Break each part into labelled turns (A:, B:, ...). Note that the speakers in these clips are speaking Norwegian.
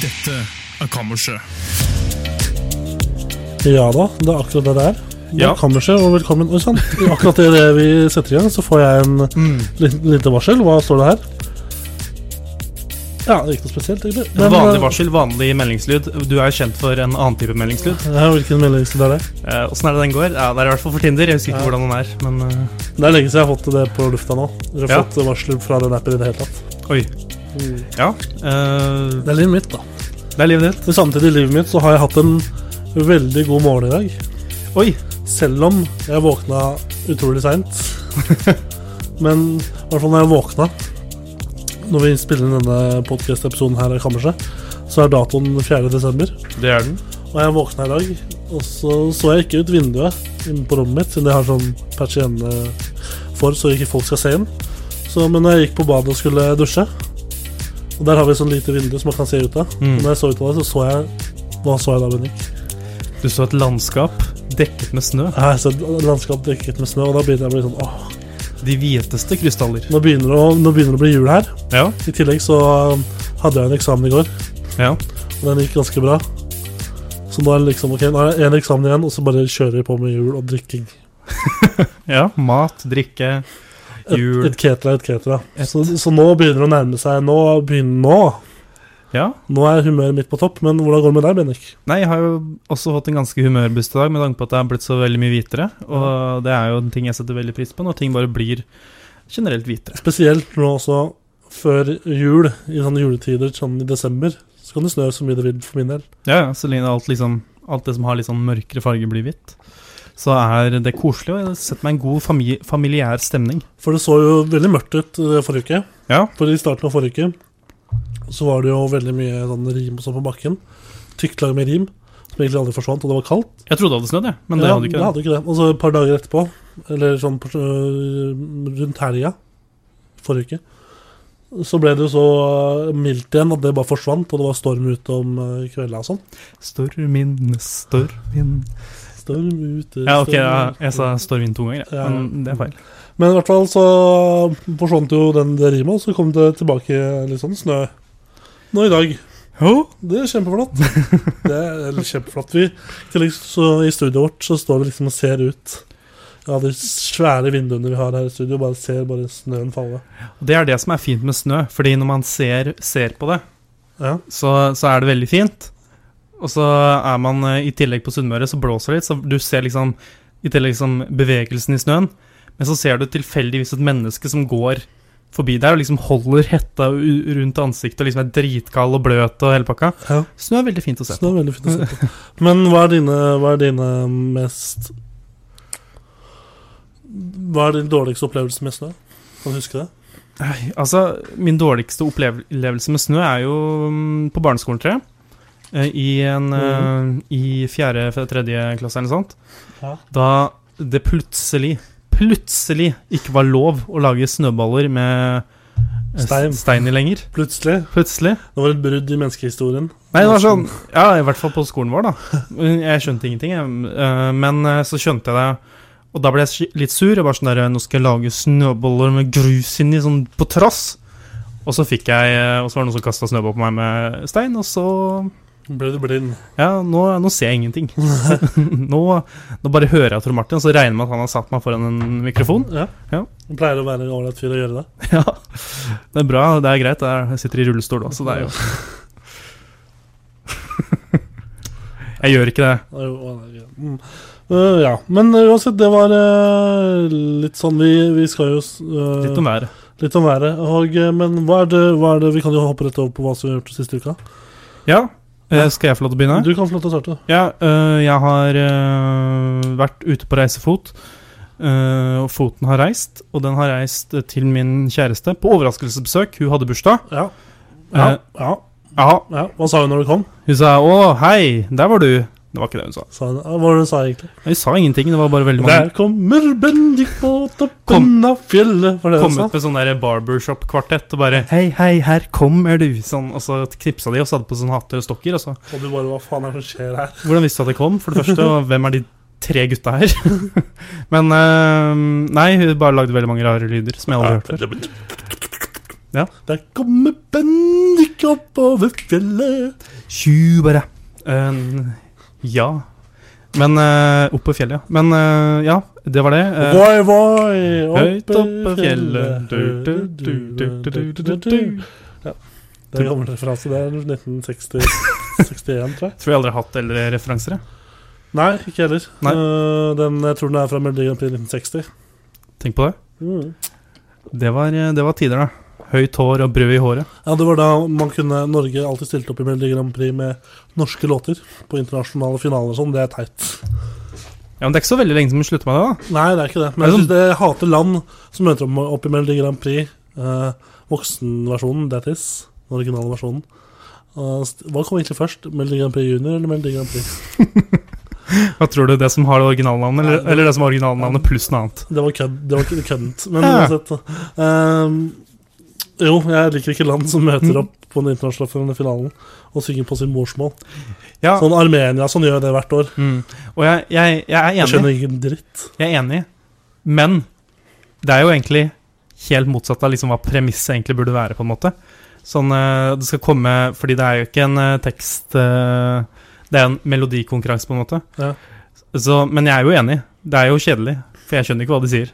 A: Dette er Kammerset.
B: Ja da, det er akkurat det det er. Det
A: Ja.
B: er Kammerset, og velkommen. Oi sann. Akkurat i det vi setter i gang, så får jeg en liten lite varsel. Hva står det her? Ja, det er ikke noe spesielt, egentlig. Men,
C: vanlig
B: eh,
C: varsel, vanlig meldingslyd. Du er jo kjent for en annen type meldingslyd.
B: Ja, hvilken meldingslyd er det?
C: Eh, Åssen er det den går? Ja, det er i hvert fall for Tinder. Jeg husker ikke hvordan den er, men eh,
B: Det er lenge siden jeg har fått det på lufta nå. Jeg har
C: Ja.
B: fått varsler fra den appen i det hele tatt.
C: oi. Ja. eh,
B: Det er livet mitt, da.
C: Mm. det er livet ditt.
B: Men samtidig i livet mitt så har jeg hatt en veldig god morgen i dag.
C: Oi.
B: Selv om jeg våkna utrolig seint. Men i hvert fall når jeg våkna Når vi spiller inn denne podcast-episoden her i Kammerset, så er datoen 4. desember.
C: Det er den.
B: Og jeg våkna i dag, og så så jeg ikke ut vinduet inne på rommet mitt, siden jeg har sånn persienne for, så ikke folk skal se inn. Så, men når jeg gikk på badet og skulle dusje, og der har vi sånn lite vindu som man kan se ut av,
C: Mm.
B: og når jeg så ut av det, så så jeg Hva så jeg da, Bennik?
C: Du så et landskap dekket med snø.
B: Jeg har sett landskap dekket med snø, og da begynte jeg å bli sånn åh,
C: De hviteste krystaller.
B: Nå begynner, det å, nå begynner det å bli jul her.
C: Ja.
B: I tillegg så um, hadde jeg en eksamen i går,
C: ja.
B: og den gikk ganske bra. Så nå er det liksom ok, nå er det én eksamen igjen, og så bare kjører vi på med jul og drikking.
C: ja. Mat, drikke,
B: Et,
C: jul
B: et cetera, et cetera. Så, så nå begynner det å nærme seg. Nå begynner nå.
C: Ja.
B: Nå er humøret mitt på topp, men hvordan går det med deg, Bennik?
C: Nei, jeg har jo også fått en ganske humørbust i dag, med tanke på at det er blitt så veldig mye hvitere. Og det er jo en ting jeg setter veldig pris på, når ting bare blir generelt hvitere.
B: Spesielt nå også før jul, i sånne juletider sånn i desember, så kan det snø så mye det vil for min del.
C: Ja, ja, så lenge alt, liksom, alt det som har litt sånn mørkere farger, blir hvitt. Så er det koselig, og det setter meg en god fami familiær stemning.
B: For det så jo veldig mørkt ut eh, forrige uke.
C: Ja.
B: For i starten av forrige uke så var det jo veldig mye sånn rim og sånn på bakken. Tykt lag med rim, som egentlig aldri forsvant, og det var kaldt.
C: Jeg trodde det hadde snødd, jeg, men det
B: Ja,
C: hadde ikke
B: det
C: det.
B: hadde ikke det. Og så et par dager etterpå, eller sånn på, øh, rundt helga forrige uke, så ble det jo så øh, mildt igjen at det bare forsvant, og det var storm ute om øh, kvelda og sånn.
C: Stormin, stormin
B: Storm ute,
C: Ja, ok,
B: storm
C: ja,
B: ute.
C: jeg sa stormin to ganger, jeg.
B: Ja.
C: men det er feil.
B: Men i hvert fall så øh, forsvant jo den det rimet, og så kom det tilbake litt sånn snø nå i dag. Det er kjempeflott. Det er eller kjempeflott. Vi, i tillegg så I studioet vårt så står vi liksom og ser ut. Ja, De svære vinduene vi har her i studio, bare ser bare snøen falle.
C: Det er det som er fint med snø, fordi når man ser, ser på det,
B: Ja,
C: så, så er det veldig fint. Og så er man eh, i tillegg på Sunnmøre, så blåser det litt, så du ser liksom i tillegg liksom bevegelsen i snøen. Men så ser du tilfeldigvis et menneske som går forbi deg og liksom holder hetta u- rundt ansiktet og liksom er dritkald og bløt og hele pakka.
B: ja.
C: Snø er veldig fint å se
B: Så
C: på.
B: det er veldig fint å se på. Men hva er dine, hva er dine mest Hva er din dårligste opplevelse med snø? Kan du huske det?
C: Nei, Altså, min dårligste opplevelse med snø er jo mm, på barneskolen, tror jeg. Eh, I en
B: Mhm.
C: eh, I fjerde, tredje klasse eller noe sånt.
B: Ja.
C: Da det plutselig, plutselig ikke var lov å lage snøballer med eh, s-
B: Stein.
C: stein i lenger.
B: Plutselig.
C: Plutselig.
B: Det var et brudd i menneskehistorien.
C: Nei, det var sånn Ja, i hvert fall på skolen vår, da. Jeg skjønte ingenting, jeg. Eh, Men eh, så skjønte jeg det, og da ble jeg sk- litt sur. Og bare sånn der Nå skal jeg lage snøboller med grus inni, sånn på trass. Og så fikk jeg eh, Og så var det noen som kasta snøball på meg med stein, og så
B: Ble du blind?
C: Ja, nå, nå ser jeg ingenting. nå, nå bare hører jeg Tor Martin, og så regner jeg med at han har satt meg foran en mikrofon.
B: Ja.
C: Ja.
B: Du pleier å være en ålreit fyr å gjøre det.
C: ja, det er bra. Det er greit. det er- Jeg sitter i rullestol da, så det er jo Jeg gjør ikke det.
B: Ja, jo, å, nei, ja. Mm. Øh, ja. Men øh, uansett, det var øh, litt sånn Vi, vi skal jo øh,
C: Litt om været.
B: litt om været. Og, øh, men hva er, det, hva er det Vi kan jo hoppe rett over på hva som vi har gjort siste uka.
C: Ja, eh, skal jeg få lov til å begynne? eh,
B: Du kan få lov til å starte.
C: Ja, øh, jeg har øh, vært ute på reisefot. eh, og foten har reist, og den har reist eh, til min kjæreste på overraskelsesbesøk. Hun hadde bursdag.
B: Ja. Ja,
C: Eh,
B: ja,
C: ja,
B: ja. Hva sa hun når du kom?
C: Hun sa 'Å, hei, der var du'. Det var ikke det hun sa.
B: Sa hun, ja, hva var det hun sa egentlig?
C: Hun sa ingenting. Det var bare veldig mange
B: Der kommer Bendik på toppen
C: Kom.
B: av fjellet. Var det det hun
C: Kom
B: sa?
C: ut med sånn der barbershop-kvartett og bare 'Hei, hei, her kommer du', sånn. Og så knipsa de og satte på sånne hatter og stokker. Og så.
B: Og du bare Hva faen er det som skjer her?
C: Hvordan visste du at jeg kom, for det første? Og hvem er de tre gutta her? Men eh, nei, hun bare lagde veldig mange rare lyder som jeg aldri har hørt før. Ja.
B: Der kommer Bendik oppover fjellet.
C: Tjubere. Eh, ja. Men eh, opp på fjellet, ja. Men eh, ja, det var det. Eh,
B: Voi, voi,
C: Høyt oppe fjellet du, du, du, du, du, du, du, du.
B: Det er en gammel referanse. Det er 1961, tror jeg.
C: Tror jeg aldri har hatt eldre referanser. jeg.
B: Nei, ikke heller.
C: Nei.
B: Eh, den, jeg tror den er fra Melodi Grand Prix 1960.
C: Tenk på det. Mm. Det var, eh, det var tider, da. Høyt hår og brød i håret.
B: Ja, Det var da man kunne Norge alltid stilte opp i Melodi Grand Prix med norske låter på internasjonale finaler og sånn. Det er teit.
C: Ja, Men det er ikke så veldig lenge siden vi slutta med det. da
B: Nei, det er ikke det. Men
C: Er
B: jeg,
C: det sånn-
B: synes det, jeg hater land som møter opp, opp i Melodi Grand Prix. eh, voksenversjonen, det er tiss. Den originale versjonen. Eh, st- hva kom egentlig først? Melodi Grand Prix Junior eller Melodi Grand Prix?
C: Hva tror du, det som har det originalnavnet, eller,
B: Nei,
C: eller det som har originalnavnet pluss noe annet?
B: Det var kødd. Det var ikke køddent. Men
C: Ja.
B: uansett. eh, jo, jeg liker ikke land som møter
C: Mm.
B: opp på den internasjonale finalen og synger på sin morsmål.
C: Ja,
B: Sånn Armenia sånn gjør det hvert år.
C: mm. Og jeg, jeg, jeg er
B: Jeg
C: enig.
B: skjønner ikke en dritt.
C: Jeg er enig, men det er jo egentlig helt motsatt av liksom hva premisset egentlig burde være. på en måte. Sånn, eh, det skal komme, fordi det er jo ikke en eh, tekst eh, Det er en melodikonkurranse, på en måte.
B: Ja.
C: Så, men jeg er jo enig. Det er jo kjedelig, for jeg skjønner ikke hva de sier.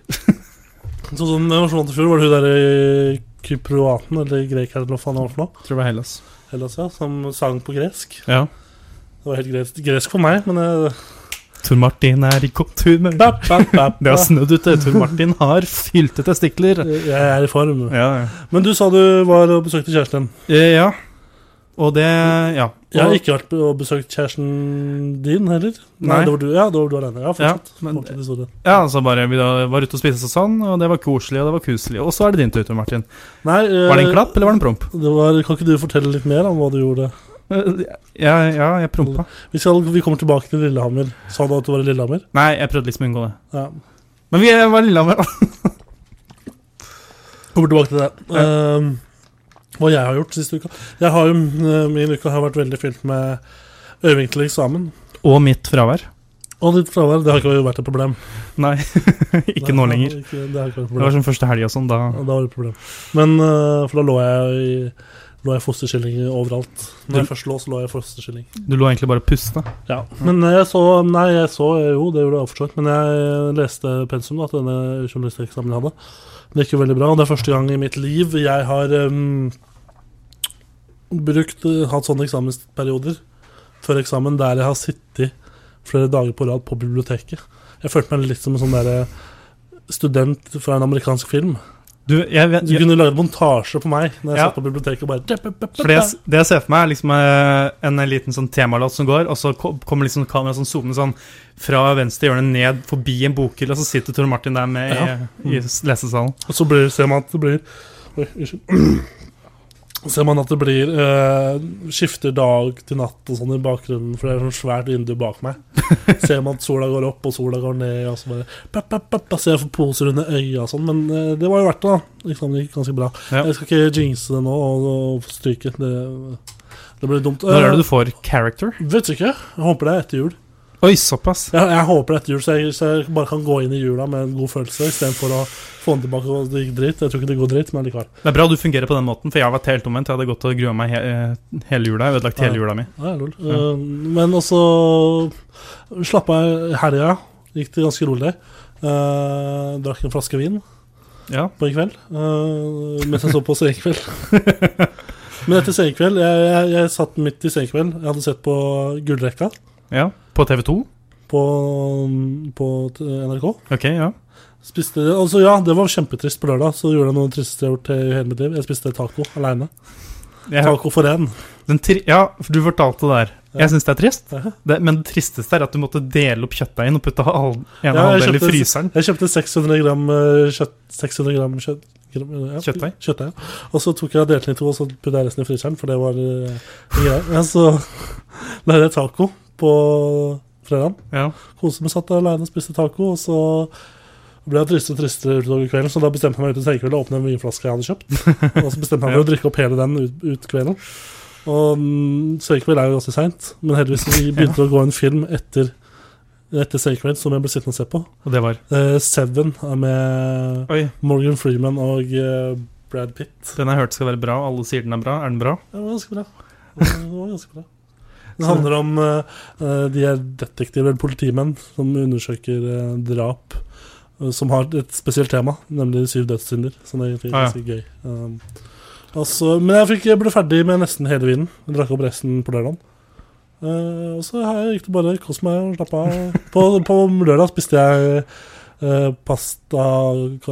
B: Sånn som det var sånn til fjor, var det hun der eh, kyproaten, eller greker, eller hva faen det var for noe,
C: Tror det var Hellas.
B: Hellas, ja, som sang på gresk.
C: Ja.
B: Det var helt gresk, gresk for meg, men eh, jeg,
C: Tor Martin er i godt humør.
B: bap, bap, bap,
C: Det har snødd ute. Tor Martin har fylte testikler.
B: jeg er i form.
C: Ja, ja.
B: Men du sa du var og besøkte kjæresten din.
C: Eh, ja. Og det Ja.
B: Jeg har
C: Og-
B: ikke vært og besøkt kjæresten din heller. Nei,
C: Nei.
B: det var du, ja, det var du alene. Ja,
C: Ja,
B: fortsatt.
C: men-
B: fortsatt historien.
C: Ja, altså bare Vi da var ute og spiste og sånn, og det var koselig, og det var kuselig. Og så er det din tur, Tor Martin.
B: Nei, eh,
C: Var det en klapp, eller var det en promp?
B: det var, kan ikke du fortelle litt mer om hva du gjorde?
C: eh, Ja, ja, jeg prompa.
B: Vi, skal, vi kommer tilbake til Lillehammer. Sa du at du var i Lillehammer?
C: Nei, jeg prøvde liksom å unngå det.
B: Ja.
C: Men vi var i Lillehammer.
B: Kommer tilbake til det. Ehm, hva jeg har gjort siste uka. Jeg har jo, eh, min uke har vært veldig fylt med øving til eksamen.
C: Og mitt fravær.
B: Og ditt fravær. Det har ikke vært et problem.
C: Nei, ikke
B: Det har-
C: nå lenger.
B: Ikke, det har ikke vært et
C: Det var
B: problem.
C: som første helg og sånn, da
B: Ja, Da var det et problem. Men eh, for da lå jeg i lå jeg fosterskilling overalt. Når jeg først lå, så lå jeg fosterskilling.
C: Du lå egentlig bare og pusta.
B: Ja. Men jeg så Nei, jeg så jo, det gjorde jeg for så vidt, men jeg leste pensum, da, til denne journalisteksamen jeg hadde. Det gikk jo veldig bra, og det er første gang i mitt liv jeg har em, brukt eh, hatt sånne eksamensperioder før eksamen der jeg har sittet flere dager på rad på biblioteket. Jeg følte meg litt som en sånn derre student fra en amerikansk film.
C: Du, jeg vet
B: Du kunne lagd montasje på meg når jeg
C: Ja.
B: satt på biblioteket og bare
C: for det, jeg- det jeg ser for meg, er liksom eh, en liten sånn temalåt som går, og så ko- kommer liksom kameraet sånn zoomende sånn fra venstre hjørne ned forbi en bokhylle, og så sitter Tor Martin der med i, i lesesalen.
B: Og så blir, ser man at det blir Oi, unnskyld. Ser man at det blir eh, skifter dag til natt og sånn i bakgrunnen, for det er sånn svært vindu bak meg. Ser man at sola går opp og sola går ned, og så bare pap, pap, pap, pap, Ser jeg for poser under øya og sånn, men eh, det var jo verdt det, da. Eksamen gikk ganske bra.
C: Ja.
B: Jeg skal ikke jinxe det nå og, og stryke. Det, det blir dumt.
C: Når er
B: Eh,
C: det du får character?
B: Vet du ikke. Jeg håper det er etter jul.
C: Oi, såpass.
B: Jeg, jeg håper det er etter jul, så jeg, så jeg bare kan gå inn i jula med en god følelse, istedenfor å få den tilbake og det gikk dritt. Jeg tror ikke det går dritt, men likevel.
C: Det er bra du fungerer på den måten, for jeg har vært helt omvendt. Jeg hadde gått og grua meg he eh, hele jula. Jeg ødelagt hele
B: Ja.
C: jula mi.
B: Ja, lol. Eh, men også slappa jeg i helga. Gikk det ganske rolig. Eh, drakk en flaske vin
C: Ja.
B: på en kveld eh, mens jeg så på Senkveld. men etter Senkveld jeg, jeg, jeg satt midt i Senkveld. Jeg hadde sett på Gullrekka
C: ja. På TV 2?
B: på, på t- NRK.
C: Ok, ja.
B: Spiste, altså ja, Det var kjempetrist på lørdag. Så gjorde jeg noe av det tristeste jeg har gjort i hele mitt liv. Jeg spiste taco aleine.
C: Jeg,
B: Taco for én.
C: Den tri ja, for du fortalte det der.
B: Ja.
C: Jeg syns det er trist,
B: Ja.
C: det, men det tristeste er at du måtte dele opp kjøttdeigen og putte hal en
B: Ja, jeg
C: halvdel i
B: kjøpte-
C: fryseren.
B: Jeg kjøpte 600 gram eh, kjøtt, 600 gram kjøtt, gram, ja,
C: Kjøttdeig.
B: kjøttdeig, ja. Og så tok jeg delte den i to, og så putta jeg resten i fryseren, for det var eh, greia. Ja, så lagde jeg taco på fredagen.
C: Ja.
B: Koste meg, satt aleine og spiste taco, og så ble jeg tristere og tristere utover kvelden, så da bestemte jeg meg ut til senkveld å åpne en vinflaske jeg hadde kjøpt. Og så bestemte jeg meg for å drikke opp hele den ut, ut kvelden. Og mm, senkveld er jo ganske seint, men heldigvis vi begynte å gå en film etter, etter senkveld som jeg ble sittende og se på.
C: Og det var
B: Eh, Seven er med
C: Oi,
B: Morgan Freeman og eh, Brad Pitt.
C: den har jeg hørt skal være bra, og alle sier den er bra. Er den bra?
B: Det var ganske bra. Det var ganske bra. Det handler om eh, eh, de er detektiver eller politimenn som undersøker eh, drap eh, som har et spesielt tema, nemlig syv dødssynder. Som er egentlig
C: Ah, ja.
B: ganske gøy. Um, altså, men jeg, fikk, jeg ble ferdig med nesten hele vinen. Jeg drakk opp resten på lørdagen. Eh, og så her gikk det bare kos meg og slapp av. På, på lørdag spiste jeg eh, pasta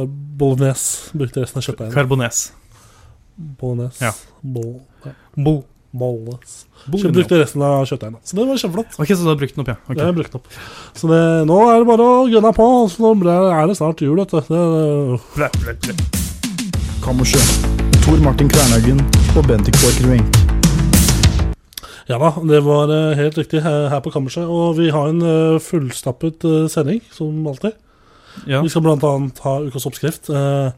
B: bolognese. Brukte resten av kjøttdeigen.
C: Carbones.
B: Bolognese.
C: Ja.
B: Bol- ja.
C: Bo.
B: Bolles.
C: Bo.
B: Så jeg brukte resten av kjøttdeigen. da. Så det var kjempeflott.
C: Ok, så du har brukt den opp, ja. Ok.
B: Jeg har brukt den opp. Så det, nå er det bare å gønne på. Så nå ble- er det snart jul, vet du. Det-
C: Blæ, blæ, blæ.
D: Kammerset. Tor Martin Kvernhaugen og Bendik Borchgrevink.
B: Ja da, det var eh, helt riktig her her på kammerset. Og vi har en eh, fullstappet eh, sending, som alltid.
C: Ja,
B: Vi skal bl.a. ha ukas oppskrift. eh,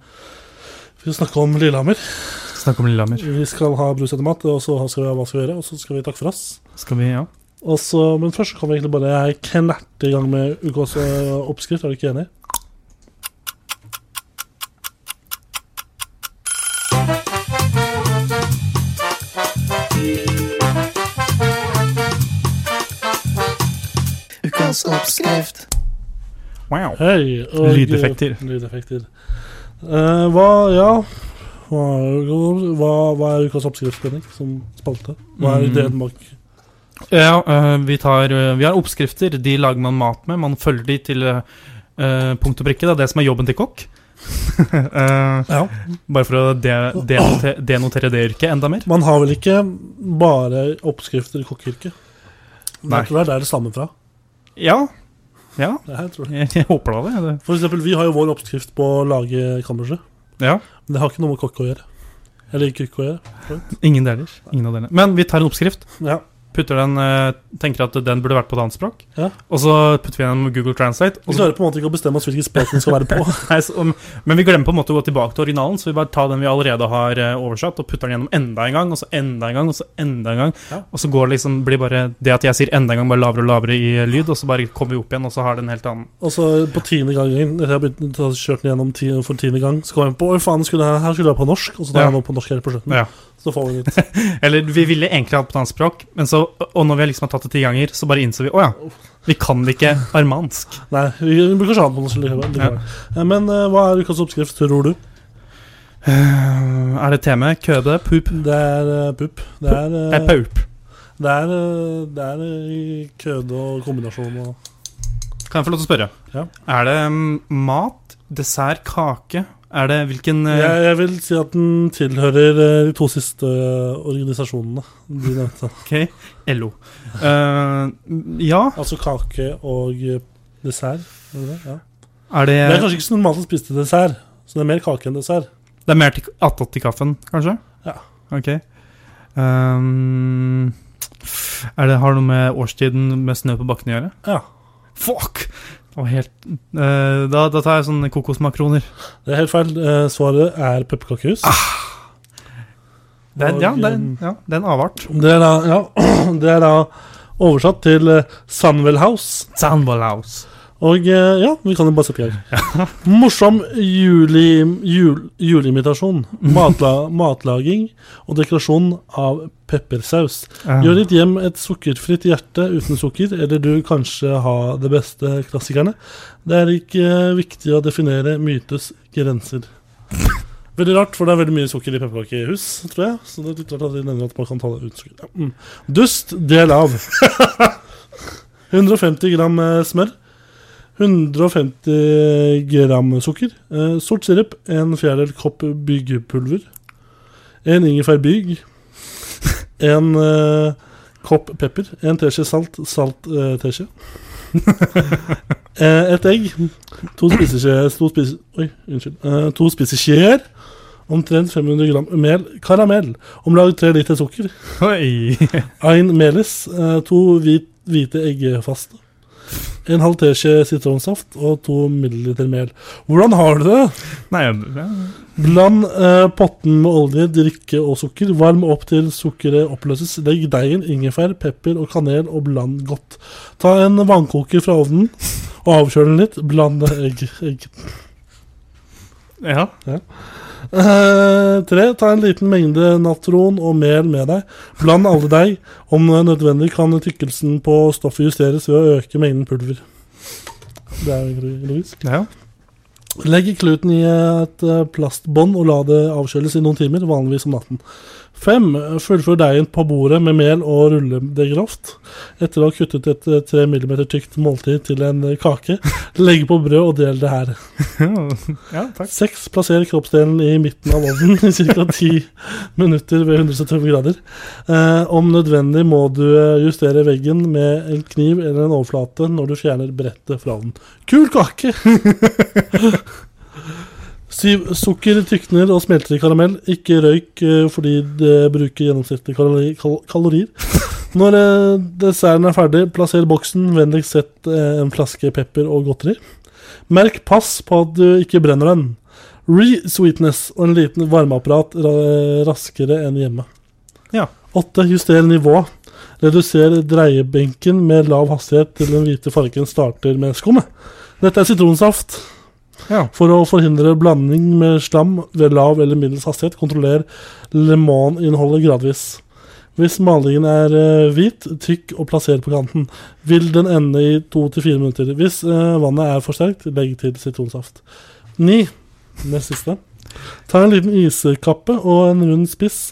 B: Vi skal snakke om Lillehammer.
C: skal snakke om Lillehammer.
B: Vi skal ha brus etter mat, og så skal vi ha hva skal vi gjøre, og så skal vi takke for oss.
C: Skal vi, ja.
B: Og så, men først så kan vi egentlig bare knerte i gang med ukas eh, oppskrift. Er du ikke enig?
D: Ukas oppskrift.
C: Wow.
B: Hei, og,
C: Lydeffekter.
B: eh, Lydeffekter. Eh, hva Ja. Hva, hva, hva er ukas oppskrift, Henrik, som spalte? Hva er
C: Mm.
B: ideen bak?
C: Ja, øh, vi, tar, øh, vi har oppskrifter. De lager man mat med. Man følger de til øh, øh, punkt og prikke. Det er det som er jobben til kokk. Eh,
B: Ja.
C: bare for å de- denote- denotere det yrket enda mer.
B: Man har vel ikke bare oppskrifter i kokkeyrket?
C: Nei.
B: Jeg tror det er der det stammer fra.
C: Ja. Ja,
B: Det her, tror jeg.
C: jeg, jeg håper da det. det.
B: For eksempel, vi har jo vår oppskrift på å lage kammerset.
C: Ja,
B: Men det har ikke noe med kokk å gjøre. Eller ikke kokk å gjøre.
C: Ingen deler. Ingen av delene. Men vi tar en oppskrift.
B: Ja.
C: Putter den, øh, tenker at den burde vært på et annet språk.
B: Ja.
C: Og så putter vi den med Google Translate.
B: Vi
C: Og så,
B: klarer på en måte ikke å bestemme oss hvilket språk den skal være på.
C: nei, så, om- men vi glemmer på en måte å gå tilbake til originalen, så vi bare tar den vi allerede har øh, oversatt, og putter den gjennom enda en gang, og så enda en gang, og så enda en gang.
B: Ja.
C: Og så går det liksom, blir bare det at jeg sier enda en gang, bare lavere og lavere i eh, lyd, og så bare kommer vi opp igjen, og så har det en helt annen
B: Og så på tiende gangen, etter jeg begynte å ta- kjørt den gjennom ti, for tiende gang, så kom jeg på Oi, faen, skulle jeg, her skulle jeg på norsk, og så tar
C: Ja.
B: jeg den opp på norsk her på slutten.
C: Ja.
B: Så får vi litt
C: Eller vi ville egentlig hatt på et annet språk, men så, og når vi liksom har tatt det ti ganger, så bare innser vi å ja, vi kan det ikke armansk.
B: Nei, vi, vi bruker ikke ha den på norsk likevel. likevel. Eh, Men eh, hva er ukas oppskrift, tror du?
C: Eh, er det teme? Køde? Pup?
B: Det er eh, pupp. Det er, eh,
C: Det er paup.
B: det er, eh, det er eh, køde og kombinasjon og
C: Kan jeg få lov til å spørre?
B: Ja.
C: Er det mm, mat, dessert, kake? Er det hvilken eh,
B: jeg, jeg vil si at den tilhører eh, de to siste eh, organisasjonene de nevnte.
C: Ok, LO. Eh, ja,
B: Altså kake og eh, dessert. er det det? Ja.
C: er
B: Det
C: det
B: er sånn- kanskje ikke så normalt å spise til dessert, så det er mer kake enn dessert.
C: Det er mer til attåt til kaffen, kanskje?
B: Ja.
C: Ok. Eh, Ehm, er det, har det noe med årstiden med snø på bakken å gjøre?
B: Ja.
C: Fuck! Det var helt, eh, da, da tar jeg sånne kokosmakroner.
B: Det er helt feil. Eh, Svaret er pepperkakehus.
C: Ah. Det er, ja,
B: Og,
C: det er,
B: um,
C: ja, det er en avart.
B: Det er da, ja, det er da oversatt til eh, Sunwell House.
C: Sandballhouse.
B: Og eh, ja, vi kan jo bare sette i gang. Morsom juli, jul, juleimitasjon. Matla, matlaging og dekorasjon av peppersaus.
C: Eh,
B: Gjør ditt hjem et sukkerfritt hjerte uten sukker, eller du kanskje har det beste klassikerne. Det er ikke eh, viktig å definere mytes grenser. Veldig rart, for det er veldig mye sukker i pepperkakehus, tror jeg. Så det er litt rart at de nevner at man kan ta det uten sukker. Ja. Mm. Dust, del av. 150 gram eh, smør. 150 gram sukker. eh, Sort sirup. En fjerdedel kopp byggpulver. En ingefærbyg. en eh, kopp pepper, en teskje salt, salt eh, teskje. Eh, Et egg, to spiseskjeer eh, to, spise, oi, unnskyld, eh, to spiseskjeer, omtrent 500 gram mel, karamell, om lag 3 liter sukker,
C: Oi!
B: ein melis, eh, to hvit, hvite eggefaste, en halv teskje sitronsaft og to milliliter mel. Hvordan har du det?
C: Nei, ja,
B: Bland eh, potten med olje, drikke og sukker. Varm opp til sukkeret oppløses. Legg deigen, ingefær, pepper og kanel og bland godt. Ta en vannkoker fra ovnen og avkjøl den litt. Bland egg. egg.
C: ja.
B: Eh, tre, ta en liten mengde natron og mel med deg. Bland alle deig. Om nødvendig kan tykkelsen på stoffet justeres ved å øke mengden pulver. Det er jo logisk.
C: ja.
B: Legg kluten i et eh, plastbånd og la det avkjøles i noen timer, vanligvis om natten. 5. Fullfør deigen på bordet med mel og rulle det grovt. Etter å ha kuttet et eh, 3 mm tykt måltid til en eh, kake, legg på brød og del det her.
C: ja takk.
B: 6. Plasser kroppsdelen i midten av ovnen i ca. 10 minutter ved 175 grader. Eh, om nødvendig må du eh, justere veggen med en kniv eller en overflate når du fjerner brettet fra ovnen. Kul kake! 7. Sukker tykner og smelter i karamell. Ikke røyk eh, fordi det bruker gjennomsnittlige kalori kal kalorier. Når eh, desserten er ferdig, plasser boksen. Vennligst sett eh, en flaske pepper og godteri. Merk pass på at du ikke brenner den. Re-sweetness og en liten varmeapparat ra- raskere enn hjemme.
C: Ja.
B: 8. Juster nivå. Reduser dreiebenken med lav hastighet til den hvite fargen starter med skummet. Dette er sitronsaft.
C: Ja.
B: For å forhindre blanding med slam ved lav eller middels hastighet, kontroller lemoninnholdet gradvis. Hvis malingen er eh, hvit, tykk og plasser på kanten. Vil den ende i 2-4 minutter. Hvis eh, vannet er for sterkt, legg til sitronsaft. 9. Nest siste. Ta en liten iskappe og en rund spiss,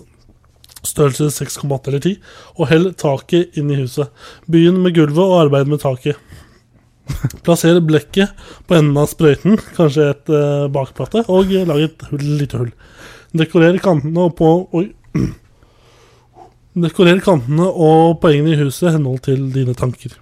B: størrelse 6,8 eller 10, og hell taket inn i huset. Begynn med gulvet og arbeid med taket. Plasser blekket på enden av sprøyten, kanskje et eh, bakplate, og lag et hull, lite hull. Dekorer kantene og på Oi. Dekorer kantene og poengene i huset i henhold til dine tanker.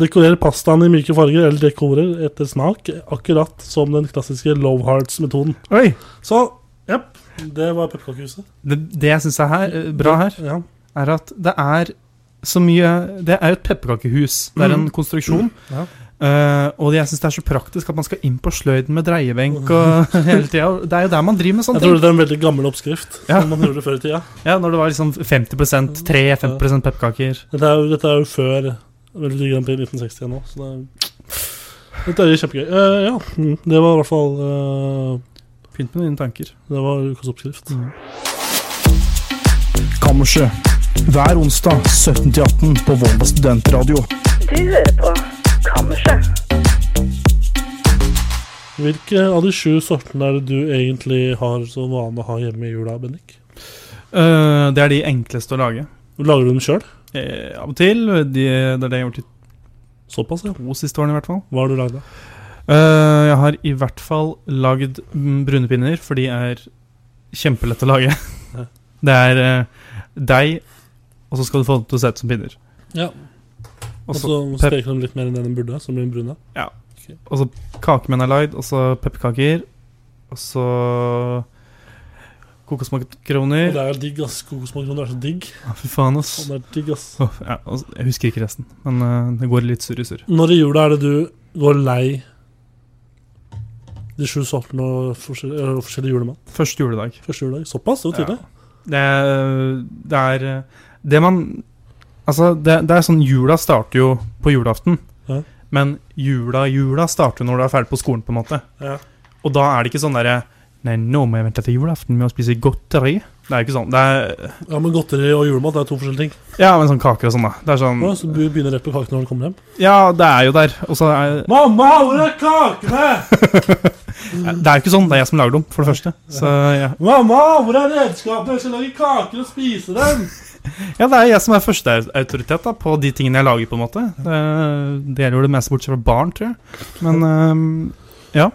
B: Dekorer pastaen i myke farger eller dekorer etter smak, akkurat som den klassiske Love Hearts-metoden.
C: Oi!
B: Så, jepp. Det var pepperkakehuset.
C: Det, det jeg syns er her, eh, bra her,
B: Ja.
C: er at det er så mye Det er jo et pepperkakehus. Det er en konstruksjon.
B: Mm. Ja.
C: Eh, og jeg syns det er så praktisk at man skal inn på sløyden med dreiebenk og hele tida. Det er jo der man driver
B: Mm.
C: med
B: Jeg
C: sånne
B: tror
C: ting.
B: det er en veldig gammel oppskrift.
C: Ja.
B: Som man gjorde før i tida.
C: Ja, Når det var liksom 50 tre, 50 pepperkaker.
B: Dette er, jo- dette er jo før Melodi Grand Prix 1961 nå, så det er Dette er jo kjempegøy. Eh, ja, mm, det var i hvert fall eh,
C: Pynt med Mm. dine tanker.
B: Det var ukas oppskrift.
D: Kammerset. Hver onsdag 17-18 på Volda studentradio.
E: Du hører på Kammerset.
B: Hvilke av de sju sortene er det du egentlig har som vane å ha hjemme i jula, Bendik?
C: Eh, det er de enkleste å lage.
B: Lager du dem sjøl?
C: Eh, av og til. De, det er det jeg har gjort de
B: Såpass, ja.
C: to siste årene, i hvert fall.
B: Hva har du lagd, da?
C: Eh, jeg har i hvert fall lagd mm, brune pinner, for de er kjempelette å lage.
B: Ja.
C: Det er eh, deig, og så skal du få det til å se ut som pinner.
B: Ja. Og
C: Og
B: så
C: så Altså, pep-
B: steker de litt mer enn den de burde, så blir de brune.
C: kakemenn er lagd, og så pepperkaker. Og så
B: Og det
C: kokosmakroner.
B: er jo digg, ass. Kokosmakron er så digg.
C: Å, Fy faen, ass.
B: Og det er digg, ass.
C: Åh, ja, og så- jeg husker ikke resten, men eh, det går litt surr i surr.
B: Når i jula er det du går lei de sju sortene og forskjellig, eller forskjellig julemat?
C: Første juledag.
B: Første juledag? Såpass? Det var tidlig.
C: Det, er- det er eh, Det man Altså, det, det er sånn Jula starter jo på julaften.
B: Ja.
C: Men jula-jula starter når du er ferdig på skolen, på en måte.
B: Ja.
C: Og da er det ikke sånn derre Nei, nå må jeg vente til julaften med å spise godteri. Det er jo ikke sånn. Det er
B: Ja, men godteri og julemat er to forskjellige ting.
C: Ja, men sånn kaker og sånn, da. Det er sånn
B: Ja, så du begynner rett på kakene når du kommer hjem.
C: Ja, det er jo der. Og så er
B: Mamma, hvor er kakene?!
C: Det er jo ikke sånn. Det er jeg som lager dem, for det første. Så ja.
B: Mamma, hvor er redskapene? Jeg skal lage kaker og spise dem!
C: Ja, det er jeg som er førsteautoritet da, på de tingene jeg lager, på en måte. Det, det gjelder jo det meste bortsett fra barn, tror jeg. Men ehm, ja.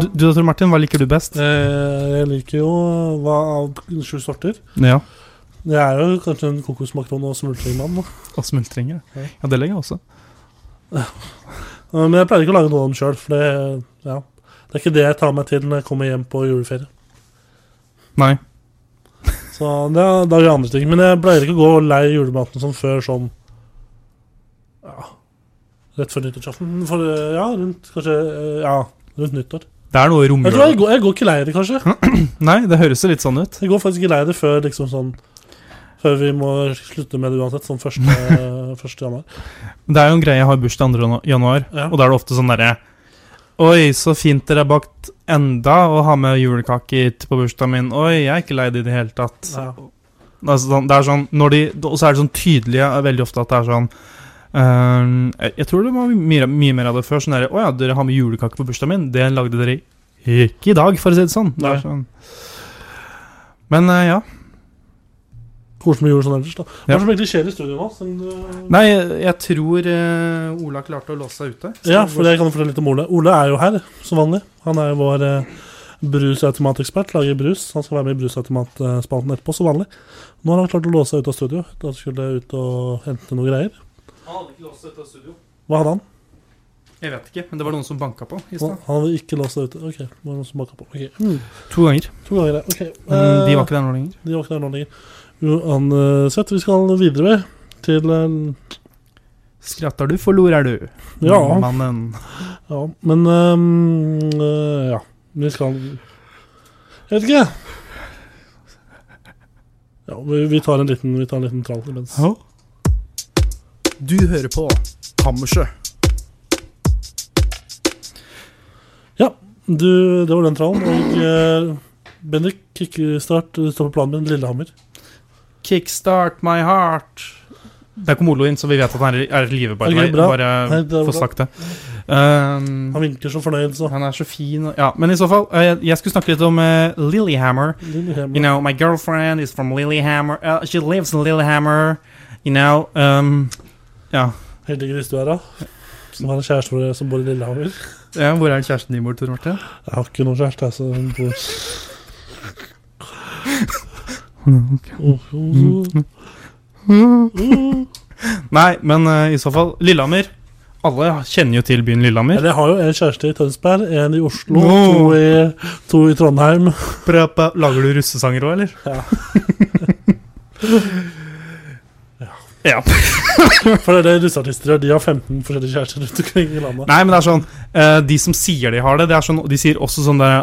C: Du, du da, Tor Martin, hva liker du best?
B: Eh, jeg liker jo hva av sju sorter.
C: Ja.
B: Jeg er jo kanskje en kokosmakron og smultringmann. da.
C: Og smultringer. Ja, det legger jeg også.
B: Eh, Men jeg pleier ikke å lage noe av dem sjøl, for det, ja, det er ikke det jeg tar meg til når jeg kommer hjem på juleferie.
C: Nei.
B: Så det, er- da gjør jeg andre ting. Men jeg pleier ikke å gå lei julematen sånn før sånn Ja, rett før nyttårsaften. For eh, ja, rundt kanskje eh, Ja, rundt nyttår.
C: Det er noe
B: Jeg tror jeg
C: romjula
B: går, jeg går ikke lei det, kanskje.
C: Nei, det høres jo litt sånn ut.
B: Jeg går faktisk ikke lei det før liksom sånn Før vi må slutte med det uansett, sånn 1. januar.
C: Det er jo en greie jeg har bursdag 2. janu- januar,
B: Ja.
C: og da er det ofte sånn derre Oi, så fint dere har bakt enda og har med julekake hit på bursdagen min. Oi, jeg er ikke lei det i det hele tatt.
B: Ja.
C: Altså, sånn- det er sånn, når de, og så er det sånn tydelig eh, veldig ofte at det er sånn ehm, jeg, jeg tror det var mye, mye mer av det før. Sånn derre Å ja, dere har med julekake på bursdagen min. Det lagde dere ikke i dag, for å si det sånn. Det
B: Nei.
C: er sånn. Men eh, ja.
B: Koselig med jul sånn ellers, da. Hva
C: Ja.
B: er det som egentlig skjer i studio nå? Sånn, eh,
C: Nei, jeg, jeg tror eh, Ola klarte å låse seg ute. Så
B: ja,
C: vi
B: for
C: går-
B: jeg kan fortelle litt om Ole. Ole er jo her, som vanlig. Han er jo vår eh, brusautomatekspert. Lager brus. Han skal være med i brusautomatspalten etterpå, som vanlig. Nå har han klart å låse seg ut av studio. Da skulle jeg ut og hente noen greier.
C: Han hadde ikke låst seg ut av studio.
B: Hva hadde han?
C: Jeg vet ikke, men det var noen som banka på i
B: Han
C: stad.
B: hadde ikke låst seg ute. Ok, det var noen som banka på. Ok, Mm.
C: To ganger.
B: To ganger, ja. ok.
C: Men Mm, de
B: Eh,
C: var ikke der nå lenger.
B: De var ikke der nå lenger. Uansett, vi skal videre med til eh,
C: Skratter du, forlorer du.
B: Ja.
C: Mannen.
B: ja men ehm, eh, Ja. Vi skal Jeg vet ikke. Ja, vi, vi tar en liten, vi tar en liten trall imens.
C: Hå?
D: Du hører på Kammerset.
B: Du, det var den trallen. Og eh, Bendik Kickstart det står på planen min Lillehammer.
C: Kickstart my heart. Der kom Olo inn, så vi vet at han er- er i live. Bare,
B: Ok,
C: okay,
B: bra. Nei,
C: bare
B: det er
C: få
B: bra.
C: sagt det. Um,
B: Han vinker så fornøyd, så.
C: han er så fin. og- Ja, men i så fall, eh, jeg, jeg skulle snakke litt om eh, Lillehammer. You
B: Lillehammer.
C: know, my girlfriend is from Lillehammer. Uh, she lives in Lillehammer. You know, um, ja.
B: Heldiggris du er, da. Som har en kjæreste for deg som bor i Lillehammer.
C: ja. Hvor er kjæresten din, Bård Tor Martin?
B: Jeg har ikke noen kjæreste, jeg, så hun bor oh, oh, oh.
C: Nei, men eh, i så fall Lillehammer. Alle kjenner jo til byen Lillehammer.
B: Eller jeg har jo en kjæreste i Tønsberg, en i Oslo,
C: Nå.
B: to, i, to i Trondheim.
C: Bra, bra. Lager du russesanger òg, eller?
B: For det er det russeartister gjør. De har 15 forskjellige kjærester rundt omkring i landet.
C: Nei, men det er sånn eh, De som sier de har det, det er sånn De sier også sånn der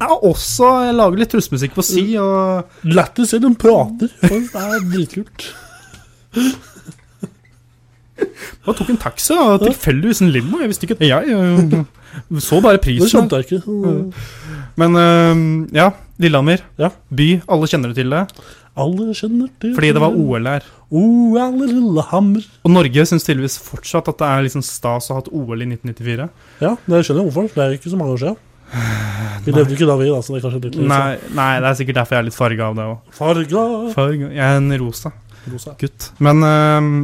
C: Jeg har også jeg lager litt russemusikk på si, og
B: Lættis de prater. For det er dritkult.
C: Jeg tok en taxi, og tilfeldigvis en limo. Jeg visste ikke Jeg, jeg, jeg så bare
B: Det
C: prisen.
B: skjønte jeg ikke.
C: Mm. Men eh, ja, Lillehammer.
B: Ja.
C: By. Alle kjenner det til det.
B: Alle kjenner til
C: Fordi det var OL der.
B: OL i Lillehammer.
C: Og Norge syns tydeligvis fortsatt at det er liksom stas å ha hatt OL i 1994.
B: Ja, det skjønner jeg hvorfor. Det er jo ikke så mange år siden. Vi levde jo ikke da, vi, da, så det er kanskje litt liksom
C: Nei, nei, det er sikkert derfor jeg er litt farga av det òg.
B: Farga
C: Jeg er en rosa
B: Rosa.
C: gutt. Men øhm,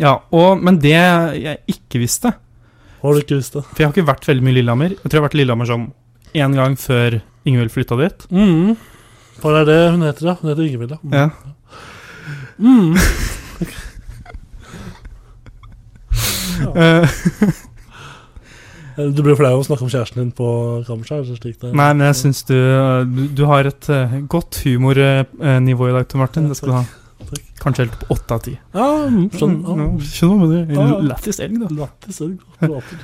C: Ja, og Men det jeg ikke visste
B: Har du ikke visst det?
C: For jeg har ikke vært veldig mye i Lillehammer. Jeg tror jeg har vært i Lillehammer sånn én gang før Ingvild flytta dit.
B: Mm. For det er det hun heter, ja. Hun heter Ingvild, ja.
C: Ja.
B: Mm.
C: Eh,
B: Eh, Du blir flau av å snakke om kjæresten din på kammerset? Er det slik det er?
C: nei, men jeg syns du, du Du har et eh, godt humornivå i dag, Tor Martin.
B: Ja,
C: Det skal du ha.
B: Takk.
C: Kanskje helt på åtte av ti.
B: Ja, mm, skjønner.
C: Mm, skjønner hva jeg
B: Ja, ja.
C: mener. Lættis elg, da.
B: Lættis elg. Prater.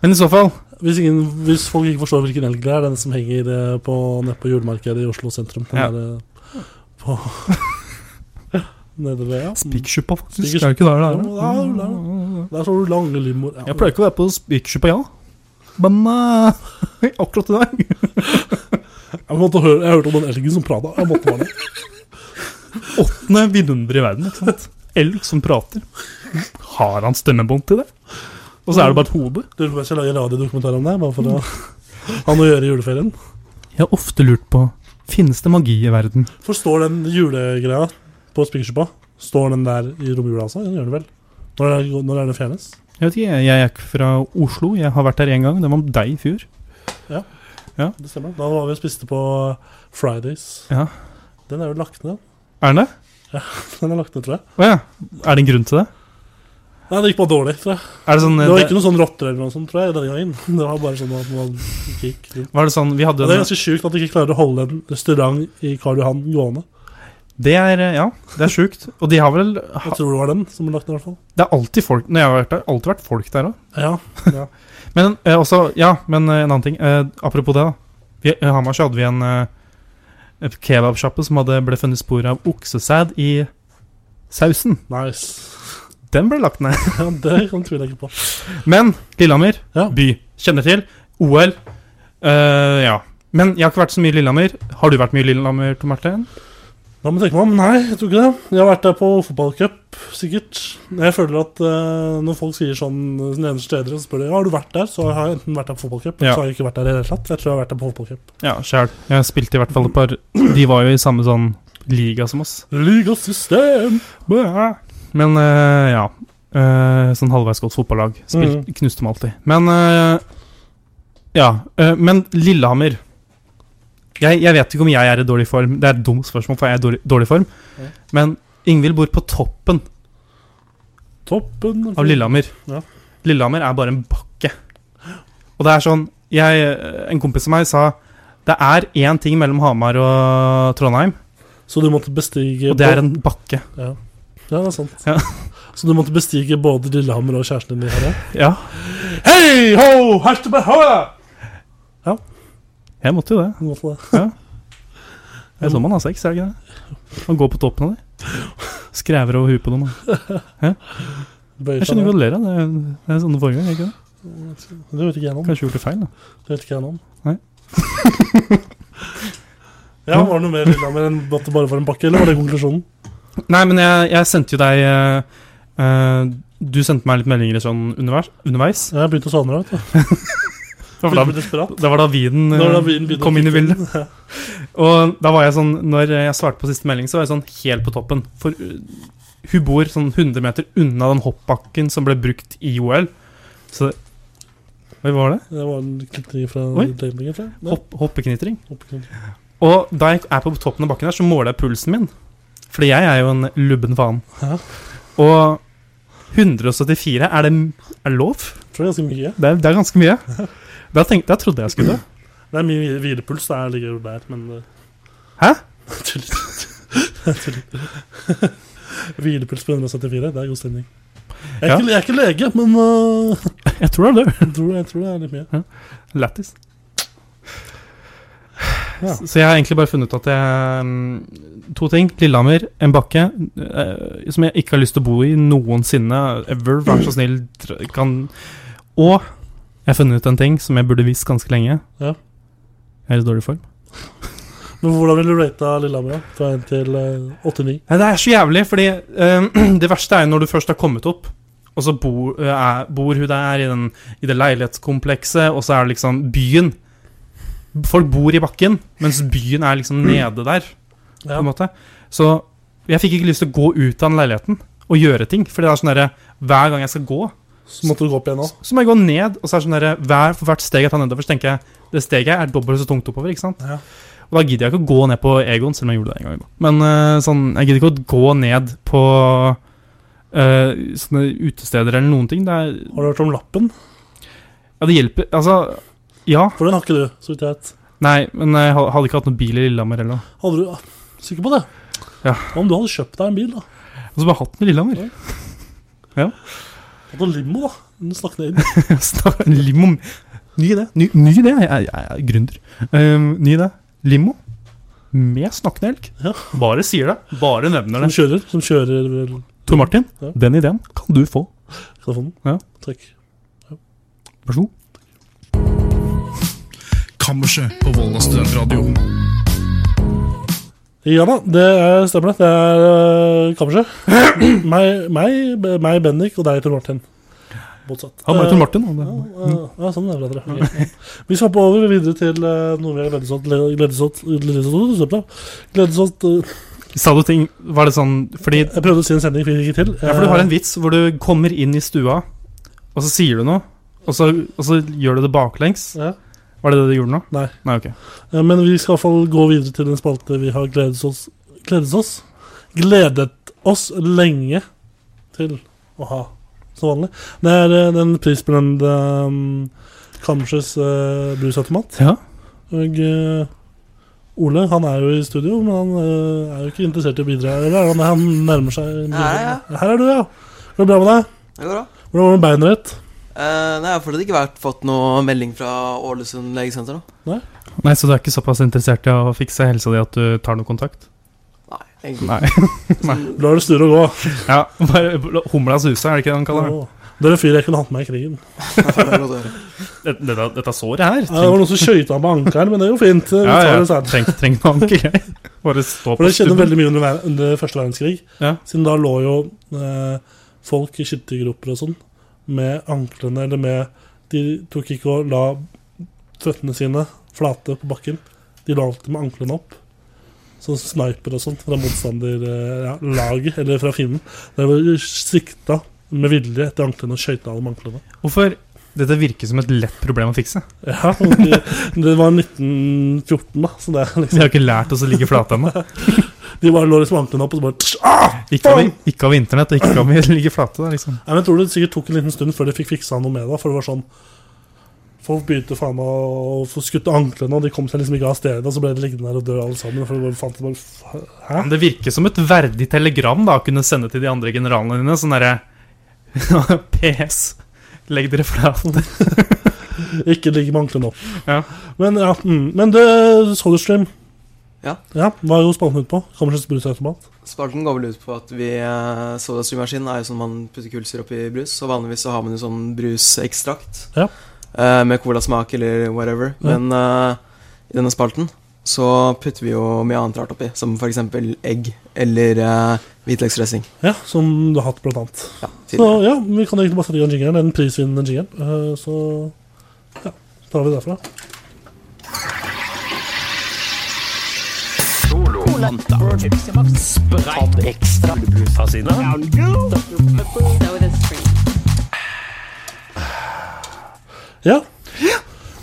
C: Men i så fall
B: Hvis, ingen, hvis folk ikke forstår hvilken elg det er, den som henger eh, på, nede på julemarkedet i Oslo sentrum den
C: Ja.
B: der, eh, på, Nede ved, ja. Mm.
C: Spikersuppa, faktisk.
B: Spikersuppa.
C: Er det ikke der det
B: Jo, det er jo
C: er? da?
B: Der står det lange limoer. Ja.
C: Jeg pleier ikke å være på Spikersuppa, ja. Men eh, akkurat i dag
B: Jeg, måtte høre, jeg hørte om den elgen som prata. Jeg måtte være der.
C: Åttende vidunder i verden. ikke sant? Elg som prater. Har han stemmebånd til det? Og så er det bare et hode.
B: Lurer på om jeg skal lage en radiodokumentar om det, bare for å ha noe å gjøre i juleferien.
C: Jeg har ofte lurt på Finnes det magi i verden?
B: Forstår den julegreia på Spikersuppa? Står den der i romjula, altså? Den gjør den vel? Når er, det- når er det fjernes?
C: Jeg vet ikke, jeg er ikke fra Oslo. Jeg har vært der én gang. Det var med deg i fjor.
B: Det stemmer. Da var vi og spiste på Fridays.
C: Ja.
B: Den er jo lagt ned.
C: Er den det?
B: Den er lagt ned, tror jeg.
C: Å ja. Er det en grunn til det?
B: Nei, det gikk bare dårlig, tror jeg.
C: Er det sånn,
B: Det
C: det
B: var ikke noe sånn rotter eller noe sånt, tror jeg, denne gangen. Det var bare sånn at man ikke gikk rundt.
C: var det sånn Vi hadde
B: Og Det er
C: en
B: ganske sjukt at de ikke klarer å holde en restaurant i Karl Johan gående.
C: Det er eh, Ja, det er sjukt. Og de har vel
B: Jeg tror det var den som ble lagt ned, i hvert fall.
C: Det er alltid folk Når jeg har vært der, alltid vært folk der òg.
B: Ja,
C: Men eh, også Ja, men eh, en annen ting. Eh, apropos det, da. Vi, I Hamar så hadde vi en eh, et kebabsjappe som hadde ble funnet spor av oksesæd i sausen.
B: nice.
C: Den ble lagt ned.
B: Ja, det kan tviler jeg ikke på.
C: Men Lillehammer
B: Ja.
C: by. Kjenner til. OL. eh, ja. Men jeg har ikke vært så mye i Lillehammer. Har du vært mye i Lillehammer, Tor Martin?
B: Da må jeg tenke meg om. Nei, jeg tror ikke det. Jeg har vært der på fotballcup, sikkert. Jeg føler at eh, når folk sier sånn eh, nevner steder, så spør de ja, har du vært der, så har jeg enten vært der på fotballcup, eller
C: Ja.
B: så har jeg ikke vært der i det hele tatt. Jeg tror jeg har vært der på fotballcup.
C: Ja, sjæl. Jeg spilte i hvert fall et par De var jo i samme sånn liga som oss.
B: Ligasystem!
C: Men eh, ja. Eh, sånn halvveis godt fotballag. Spilt, Knuste dem alltid. Men eh, Ja. eh, men Lillehammer jeg, jeg vet ikke om jeg er i dårlig form. Det er et dumt spørsmål, for jeg er i dårlig, dårlig form.
B: Ja.
C: Men Ingvild bor på toppen
B: Toppen
C: av Lillehammer.
B: Ja.
C: Lillehammer er bare en bakke. Og det er sånn jeg, En kompis av meg sa det er én ting mellom Hamar og Trondheim,
B: Så du måtte bestige
C: og det er en bakke.
B: Ja, det er sant.
C: Ja.
B: Så du måtte bestige både Lillehammer og kjæresten din i herre?
C: Ja,
B: Hei ho, hertebehoa!
C: jeg måtte jo det.
B: Du måtte det.
C: Det er sånn man har sex, er det ikke det? Man går på toppen av det. Skrever over huet på noen.
B: Bøyer seg ned.
C: Jeg skjønner ikke hva du ler av. Det er, det er sånne foreganger, ikke det?
B: Det vet ikke jeg noe om.
C: Kanskje gjort det feil, da.
B: Det vet ikke jeg noe om.
C: Nei.
B: ja, var det noe mer Lillehammer enn at det bare var en bakke, eller var det konklusjonen?
C: Nei, men jeg, jeg sendte jo deg eh, eh, Du sendte meg litt meldinger sånn underveis. underveis.
B: Ja, Jeg begynte å savne deg. vet du.
C: Det,
B: Begynte
C: var
B: å bli
C: da,
B: desperat.
C: det var da vinen
B: Da
C: eh,
B: var da vinen begynte å
C: kom inn i
B: kikke
C: bildet. Og da var jeg sånn Når jeg svarte på siste melding, så var jeg sånn helt på toppen. For uh, hun bor sånn 100 meter unna den hoppbakken som ble brukt i OL. Så Hva var det?
B: Det var en klitring fra
C: Oi.
B: datinglingen, tror jeg. Ja,
C: Hopp, hoppeknitring.
B: hoppeknitring.
C: Og da jeg er på toppen av bakken her, så måler jeg pulsen min. Fordi jeg er jo en lubben faen.
B: Ja.
C: Og 174, er det, er det lov?
B: Jeg tror det er ganske mye.
C: Det er, det er ganske mye. Da, tenkte, da trodde jeg skulle dø.
B: Det er mye hvilepuls, det er ligger jo der, men eh,
C: Hæ?
B: Tull litt. Tull litt. Hvilepuls på 174, det er god stemning. Jeg er,
C: Ja.
B: ikke, jeg er ikke lege, men eh,
C: Jeg tror det er død.
B: jeg, tror, jeg tror det er litt mye.
C: Lættis.
B: Ja.
C: Så jeg har egentlig bare funnet ut at jeg mm, To ting. Lillehammer, en bakke eh, som jeg ikke har lyst til å bo i noensinne. Ever, vær så snill. tr- Kan Og jeg har funnet ut en ting som jeg burde visst ganske lenge.
B: Ja.
C: Jeg er i dårlig form.
B: Men hvordan vil du rate Lillehammer da? fra 1 til eh, 89?
C: Nei, det er så jævlig, fordi eh, det verste er jo når du først har kommet opp, og så bor, eh, er, bor hun der i, den, i det leilighetskomplekset, og så er det liksom byen. Folk bor i bakken, mens byen er liksom nede der, på
B: Ja.
C: en måte. Så jeg fikk ikke lyst til å gå ut av den leiligheten og gjøre ting, fordi det er sånn derre Hver gang jeg skal gå,
B: Så måtte du gå opp igjen nå?
C: så må jeg gå ned, og så er det sånn derre hver- For hvert steg jeg tar nedover, så tenker jeg det steget er dobbelt så tungt oppover, ikke sant?
B: Ja.
C: Og da gidder jeg ikke å gå ned på Egon, selv om jeg gjorde det en gang. da. Men eh, sånn, jeg gidder ikke å gå ned på eh, sånne utesteder eller noen ting. Det, er,
B: Har du hørt om Lappen?
C: ja, det hjelper Altså, ja.
B: For den har ikke du, så vidt jeg vet.
C: Nei, men jeg ha- hadde ikke hatt noen bil i Lillehammer heller. da.
B: Hadde du ah, Sikker på det?
C: Ja.
B: Hva om du hadde kjøpt deg en bil, da?
C: Og så bare hatt den i Lillehammer.
B: Hadde limo, da? Du snakket ned inn.
C: Snakk- Limo Ny idé. Ny, ny idé. Jeg, jeg, jeg er gründer. Ehm, ny idé. Limo med snakkende elg.
B: Ja.
C: Bare sier det. Bare nevner
B: Som
C: det.
B: kjører. Som kjører vel
C: Tor Martin,
B: Ja.
C: den ideen kan du få.
B: telefonen.
C: Ja.
B: Takk.
C: Vær så god.
A: Kammerset på Volda studentradio.
B: Ja da, det er, stemmer det. Det er øh, kammerset. meg, meg, B- meg, Bendik og deg, Tor Martin. Motsatt.
C: Han var jo Tor
B: Eh,
C: Martin. han,
B: ja,
C: det-
B: eh, ja, sånn er det. hverandre. Ok. Vi skal hoppe over videre til eh, noe vi har gledet oss åt- gledet oss åt- gledet oss åt- søpla. Gledet oss åt eh,
C: Sa du ting Var det sånn Fordi
B: Jeg prøvde å si en sending, fikk det ikke til.
C: Ja, for du har en vits hvor du kommer inn i stua, og så sier du noe, og så, og så gjør du det baklengs.
B: Ja.
C: Var det det du gjorde nå?
B: Nei.
C: Nei, ok.
B: Eh, Men vi skal i hvert fall gå videre til en spalte vi har gledet oss, gledet oss gledet oss lenge til å ha, som vanlig. Det er eh, den prisbelønnede um, Kammersets eh, brusautomat.
C: Ja.
B: Og eh, Ole han er jo i studio, men han eh, er jo ikke interessert i å bidra. Eller er han, han nærmer seg
F: Ja,
B: Her er du, ja. Går det bra med deg?
F: Det går bra.
B: Hvordan var det med beinet ditt?
F: Eh, nei, jeg har fortsatt ikke vært, fått noe melding fra Ålesund legesenter. da
C: Nei, Så du er ikke såpass interessert i å fikse helsa di at du tar noe kontakt?
F: Nei, egentlig
C: Nei.
B: La det snurre og gå.
C: Ja, bare Humla suse, er det ikke det han kaller det?
B: Åh. Dere fyr jeg kunne hatt med i krigen.
F: ikke. Det er godt å høre.
C: Dette, dette- dette såret her
B: Ja, det var noen som skøyta med ankeren, men det er jo fint. Vi
C: ja,
B: tar
C: ja.
B: det senere.
C: Treng, treng noe annet, ikke jeg. Bare stå
B: For
C: på
B: det skjedde
C: stubben.
B: veldig mye under, ver- under første verdenskrig.
C: Ja.
B: Siden da lå jo eh, folk i skyttergroper og sånn med anklene eller med De tok ikke og la føttene sine flate på bakken. De lå alltid med anklene opp. Sånn sniper og sånt fra motstanderlaget, ja, laget, eller fra fienden. Der var de sikta med vilje etter anklene og skøyta av dem anklene.
C: Hvorfor? Dette virker som et lett problem å fikse.
B: Ja, og det, det var 1914, da. Så det, er
C: Vi
B: liksom,
C: har ikke lært oss å ligge flate ennå.
B: de bare lå liksom med anklene opp, og så bare
C: Ikke, av- ikke av internett, og ikke av å ligge flate. Der, liksom.
B: Nei, men jeg tror det sikkert tok en liten stund før de fikk fiksa noe med det. For det var sånn Folk begynte faen meg å få skutt anklene, og de kom seg liksom ikke av stedet. Og så ble de liggende der og dø alle sammen. For det bare fant det bare, f- Hæ?
C: Men Det virker som et verdig telegram da, å kunne sende til de andre generalene dine. Sånn derre PS. Legg dere flate.
B: Ikke ligge med anklene opp.
C: Ja.
B: Men ja, mm. Men det Solarstream
F: Ja.
B: ja, hva er jo spalten ut på? Kommer til brusautomat.
F: Spalten går vel ut på at vi eh, sodastreammaskinen er jo sånn man putter kullsyre opp i brus. Og vanligvis så har man jo sånn brusekstrakt
B: Ja.
F: eh, med colasmak eller whatever.
B: Ja.
F: Men eh, i denne spalten så putter vi jo mye annet rart oppi, som f.eks. egg eller eh, hvitløksdressing.
B: Ja, som du har hatt, blant annet.
F: Ja,
B: Så
F: tidligere.
B: ja, vi kan egentlig bare sette i gang jingeren. Den prisvinnende jingeren. Eh, Så ja, tar vi det derfra. Ja.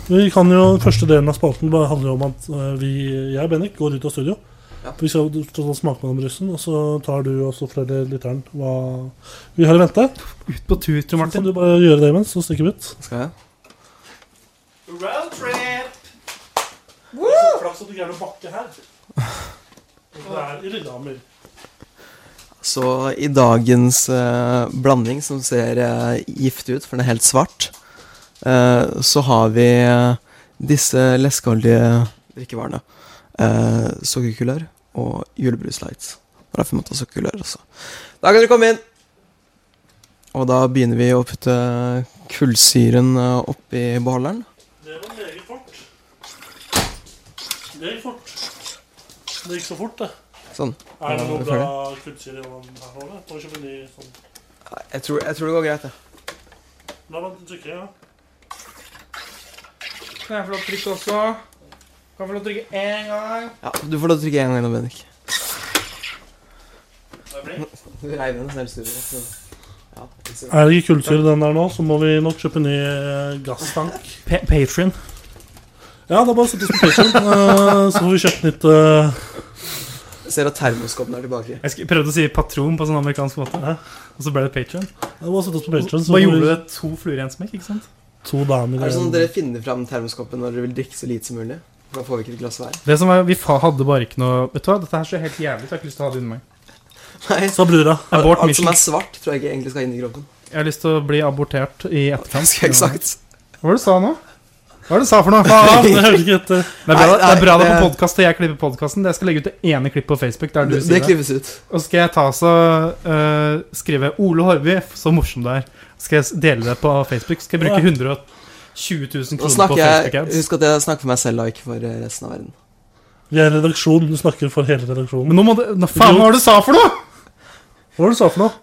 B: Vi kan jo, Første delen av spalten bare handler om at eh, vi, jeg og Bennik går ut av studio.
F: Ja.
B: Vi skal tross alt smake på den brusen, og så tar du også flere lytteren hva vi har i vente.
C: Ut på tur,
B: Så
C: Tor
B: kan
C: Martin.
B: du bare gjøre det imens, så stikker vi ut.
F: Skal jeg?
B: Flaks at du greier å bakke her. Det er i Lillehammer.
F: Så i dagens eh, blanding, som ser eh, giftig ut, for den er helt svart, eh, så har vi eh, disse leskeholdige drikkevarene. Uh, sukkerkulør og julebruslights. Og Derfor måtte jeg ha sukkerkulør også. Da kan dere komme inn! Og da begynner vi å putte kullsyren eh, oppi beholderen.
B: Det var meget fort. Det gikk fort. Det gikk så fort, det.
F: Sånn.
B: Er det noe
F: det er
B: bra kullsyre gjennom her nå? eller? Må vi kjøpe en ny sånn?
F: Jeg tror, jeg tror det går greit, jeg.
B: La meg trykke, ja.
C: Kan jeg få lov til å trykke også? Kan jeg få lov til å trykke én gang?
F: Ja, du får lov til å trykke en gang nå, Bendik. Du reiv den snellsturen. Ja, ikke så-
B: Er det ikke kullsyre den der nå, så må vi nok kjøpe ny eh, gasstank.
C: Patrion.
B: Ja, da bare settes på Patreon, eh, så får vi kjøpt nytt eh,
F: Jeg ser at termoskopen er tilbake.
C: Jeg sk- prøvde å si patron på sånn amerikansk måte, og så ble det Patrion.
B: ja, Bare settes på Patreon, så
C: Hva
B: får
C: gjorde
B: vi
C: det to fluer i en smekk, ikke sant?
B: to damer
F: Er det sånn
B: igjen.
F: at dere finner fram termoskoppen når dere vil drikke så lite som mulig? Da får vi ikke et glass hver.
C: Det som var, Vi fa hadde bare ikke noe Vet du hva, dette her ser helt jævlig ut. Jeg har ikke lyst til å ha det inni meg.
F: Nei,
B: Sa brura.
C: Abort
F: Alt som
C: mission.
F: er svart, tror jeg ikke egentlig skal inn i kroppen.
C: Jeg har lyst til å bli abortert i etterkant.
F: Ganske eksakt.
C: Hva var det du sa nå? Hva var det du sa for noe?
B: Faen, jeg hørte ikke etter.
C: Det er bra det, er bra det er på
F: Nei, det-
C: podkast, og jeg klipper podkasten. Jeg skal legge ut det ene klippet på Facebook. der du
F: Det, det
C: sier det.
F: klippes ut.
C: Og så skal jeg ta så, eh, skrive 'Ole Horvi, så morsom du er'. Skal jeg s- dele det på Facebook. Skal jeg bruke 120 000
F: Nå
C: kroner på
F: snakker jeg
C: Facebook-ads.
F: Husk at jeg snakker for meg selv og ikke for eh, resten av verden.
B: Vi er redaksjon. Du snakker for hele
C: Men
B: redaksjonen.
C: nå må du nå, Faen, hva var det du sa for noe?!
B: Hva var det du sa for noe?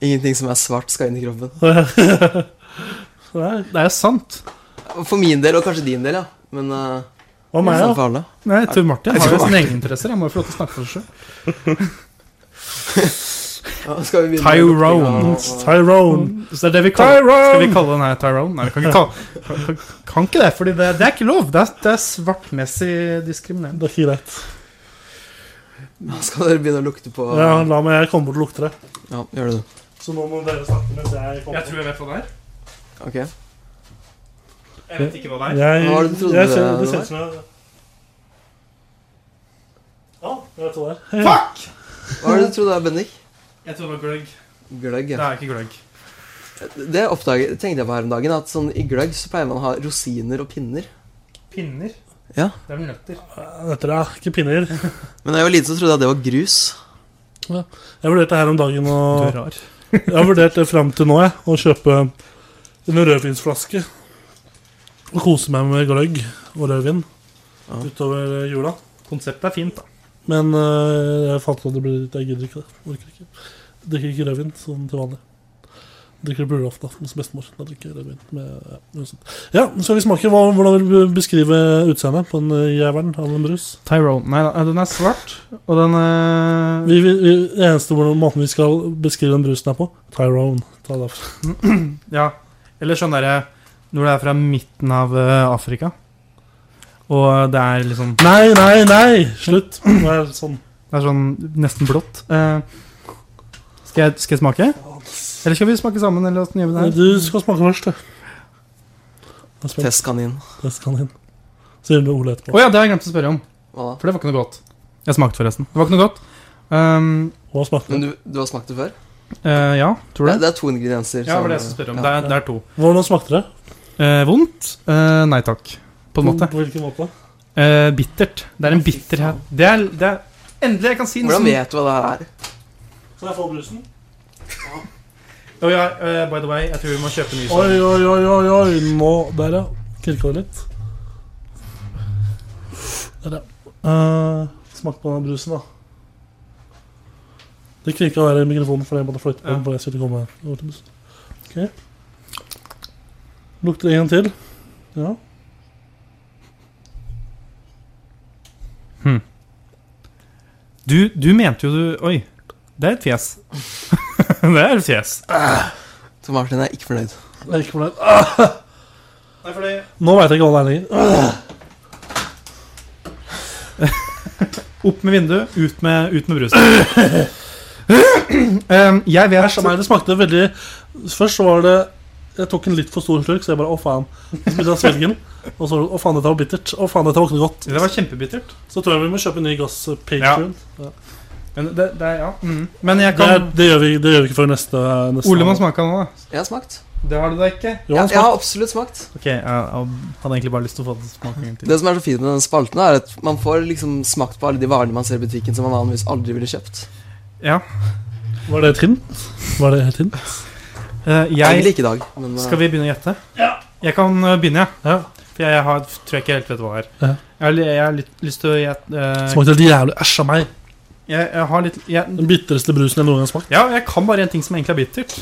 F: Ingenting som er svart, skal inn i kroppen.
B: Nei,
C: Det er jo sant.
F: For min del, og kanskje din del, ja. Men eh,
B: hva
F: det
B: med
F: er
B: meg,
F: sant
B: da?
F: for alle.
C: Nei, Tor Martin
F: Jeg
C: har jo
F: tror
C: sine egne interesser. Jeg må jo få lov til å snakke for seg selv.
F: Ja, skal vi begynne med
C: Tyrone.
F: lukting av-
B: Tyrone.
C: Så det er det vi kaller Skal vi kalle den her Tyrone? Nei, vi kan ikke kalle kan- kan, kan ikke det, for det, det er ikke lov. Det er, det er svartmessig diskriminerende.
B: Det er ikke greit.
F: Da skal dere begynne å lukte på
B: Ja, la meg jeg komme bort og lukte det.
F: Ja, gjør det, du.
B: Så nå må dere snakke mens jeg kommer.
C: Jeg tror jeg vet hva det er.
F: Ok.
C: Jeg vet ikke hva det er.
B: Jeg,
F: Hva var det du trodde
B: jeg ser,
F: det
B: det ser
F: var?
B: ut som jeg Ja, jeg vet hva det er. Fuck!
F: Hva er det du trodde er Bendik?
C: Jeg tror det var gløgg.
F: Gløgg.
C: Det
F: Ja.
C: er ikke gløgg.
F: Det oppdaget, tenkte jeg på her om dagen, at sånn, i gløgg så pleier man å ha rosiner og pinner.
C: Pinner.
F: Ja.
C: Det er vel nøtter.
B: Dette er ikke pinner.
F: Men da jeg var liten, så trodde jeg det var grus.
B: Jeg vurderte her om dagen å
C: Du er rar.
B: Jeg har vurdert det fram til nå, jeg. Å kjøpe en rødvinsflaske. Og kose meg med gløgg og rødvin
F: Ja.
B: utover jula.
C: Konseptet er fint, da.
B: Men øh, jeg fant ut at det blir Jeg gidder ikke det. Orker ikke. Jeg drikker ikke rødvin sånn til vanlig. Jeg drikker bryllup aften hos bestemor. Da drikker jeg rødvin med ja, noe sånt. Ja, skal vi smake? Hva, hvordan vil du beskrive utseendet på en øh, jævelen av en brus?
C: Tyrone. Nei, da, den er svart, og den eh,
B: Vi, vi, vi, det eneste hvordan, måten vi skal beskrive den brusen her på Tyrone. Ta det derfra.
C: Ja. Eller sånn derre Når det er fra midten av eh, Afrika, og det er liksom
B: Nei, nei, nei! Slutt. Det er sånn
C: Det er sånn nesten blått. Eh, skal, jeg, skal jeg smake? Eller skal vi smake sammen? Eller hvordan gjør vi det her?
B: Du skal smake først, du. Jeg er spent.
F: Testkanin.
B: Testkanin. Så gjør du Ole etterpå.
C: Å ja, det har jeg glemt å spørre om.
F: Hva da?
C: For det var ikke noe godt. Jeg smakte, forresten. Det var ikke noe godt. Ehm,
B: Hva smakte
F: Men
B: det?
F: du, du har smakt det før?
C: eh, ja, tror du
F: Det,
C: det?
F: det er to ingredienser.
C: Ja, det
F: som-
C: var det jeg skulle spørre om.
F: ja.
C: Det er, det er to.
B: Hvordan smakte det?
C: Eh, vondt? Eh, nei takk. På en måte.
B: På hvilken måte?
C: Eh, bittert. Det er en bitterhet. Det er, det er Endelig, jeg kan si noe
F: Hvordan
C: som
F: vet du hva det her er?
B: Skal jeg få brusen?
C: Å ja, eh, by the way, jeg tror vi må kjøpe ny
B: Oi,
C: sånn.
B: oi, oi, oi, oi. Nå Der, ja. Kirka det litt. Der, ja. Eh, smak på den brusen, da. Det kvirka der i mikrofonen, for jeg måtte flytte på den.
C: Ja.
B: for jeg skulle komme over til bussen. Ok. Lukter det en til. Ja.
C: Du, du mente jo du Oi. Det er et fjes. det er et fjes.
F: Tom Martin er ikke fornøyd.
B: Jeg er ikke fornøyd. Ah,
C: Nei, fordi
B: Nå veit jeg ikke hva det er lenger. Ah,
C: Opp med vinduet, ut med, ut med brusen. Em, jeg vet
B: Æsj av meg, det smakte veldig Først så var det Jeg tok en litt for stor slurk, så jeg bare å faen. Så begynte jeg å svelge den, og så å faen, dette var bittert. Å faen, dette var ikke noe godt.
C: Det var kjempebittert.
B: Så tror jeg vi må kjøpe en ny gass eh, Patreon.
C: Men det, det er, ja. Mm. Men jeg
B: Det,
C: kan
B: det, gjør vi- det gjør vi ikke før neste, eh, neste
C: Ole må smake nå, da.
F: Jeg har smakt.
C: Det har du da ikke?
B: Jo,
F: Ja,
B: han
F: jeg har
B: smakte.
F: absolutt smakt.
C: Ok, jeg, jeg hadde egentlig bare lyst til å få det til å smake en gang til.
F: Det som er så fint med denne spalten, er at man får liksom smakt på alle de varene man ser i butikken som man vanligvis aldri ville kjøpt.
C: Ja.
B: Var det et hint? Var det et hint?
C: Eh,
F: Egentlig
C: jeg
F: ikke i dag, men
C: Skal vi begynne å gjette? Jeg kan eh, begynne, jeg.
B: Ja.
C: For jeg har, tror jeg ikke helt vet hva det er.
B: Ja.
C: Jeg har, li- jeg har litt lyst til å gjette eh,
B: Smakte helt jævlig. Æsj av meg.
C: jeg, jeg har litt jeg,
B: Den bitreste brusen jeg noen gang har smakt.
C: Ja, jeg kan bare en ting som egentlig er bittert.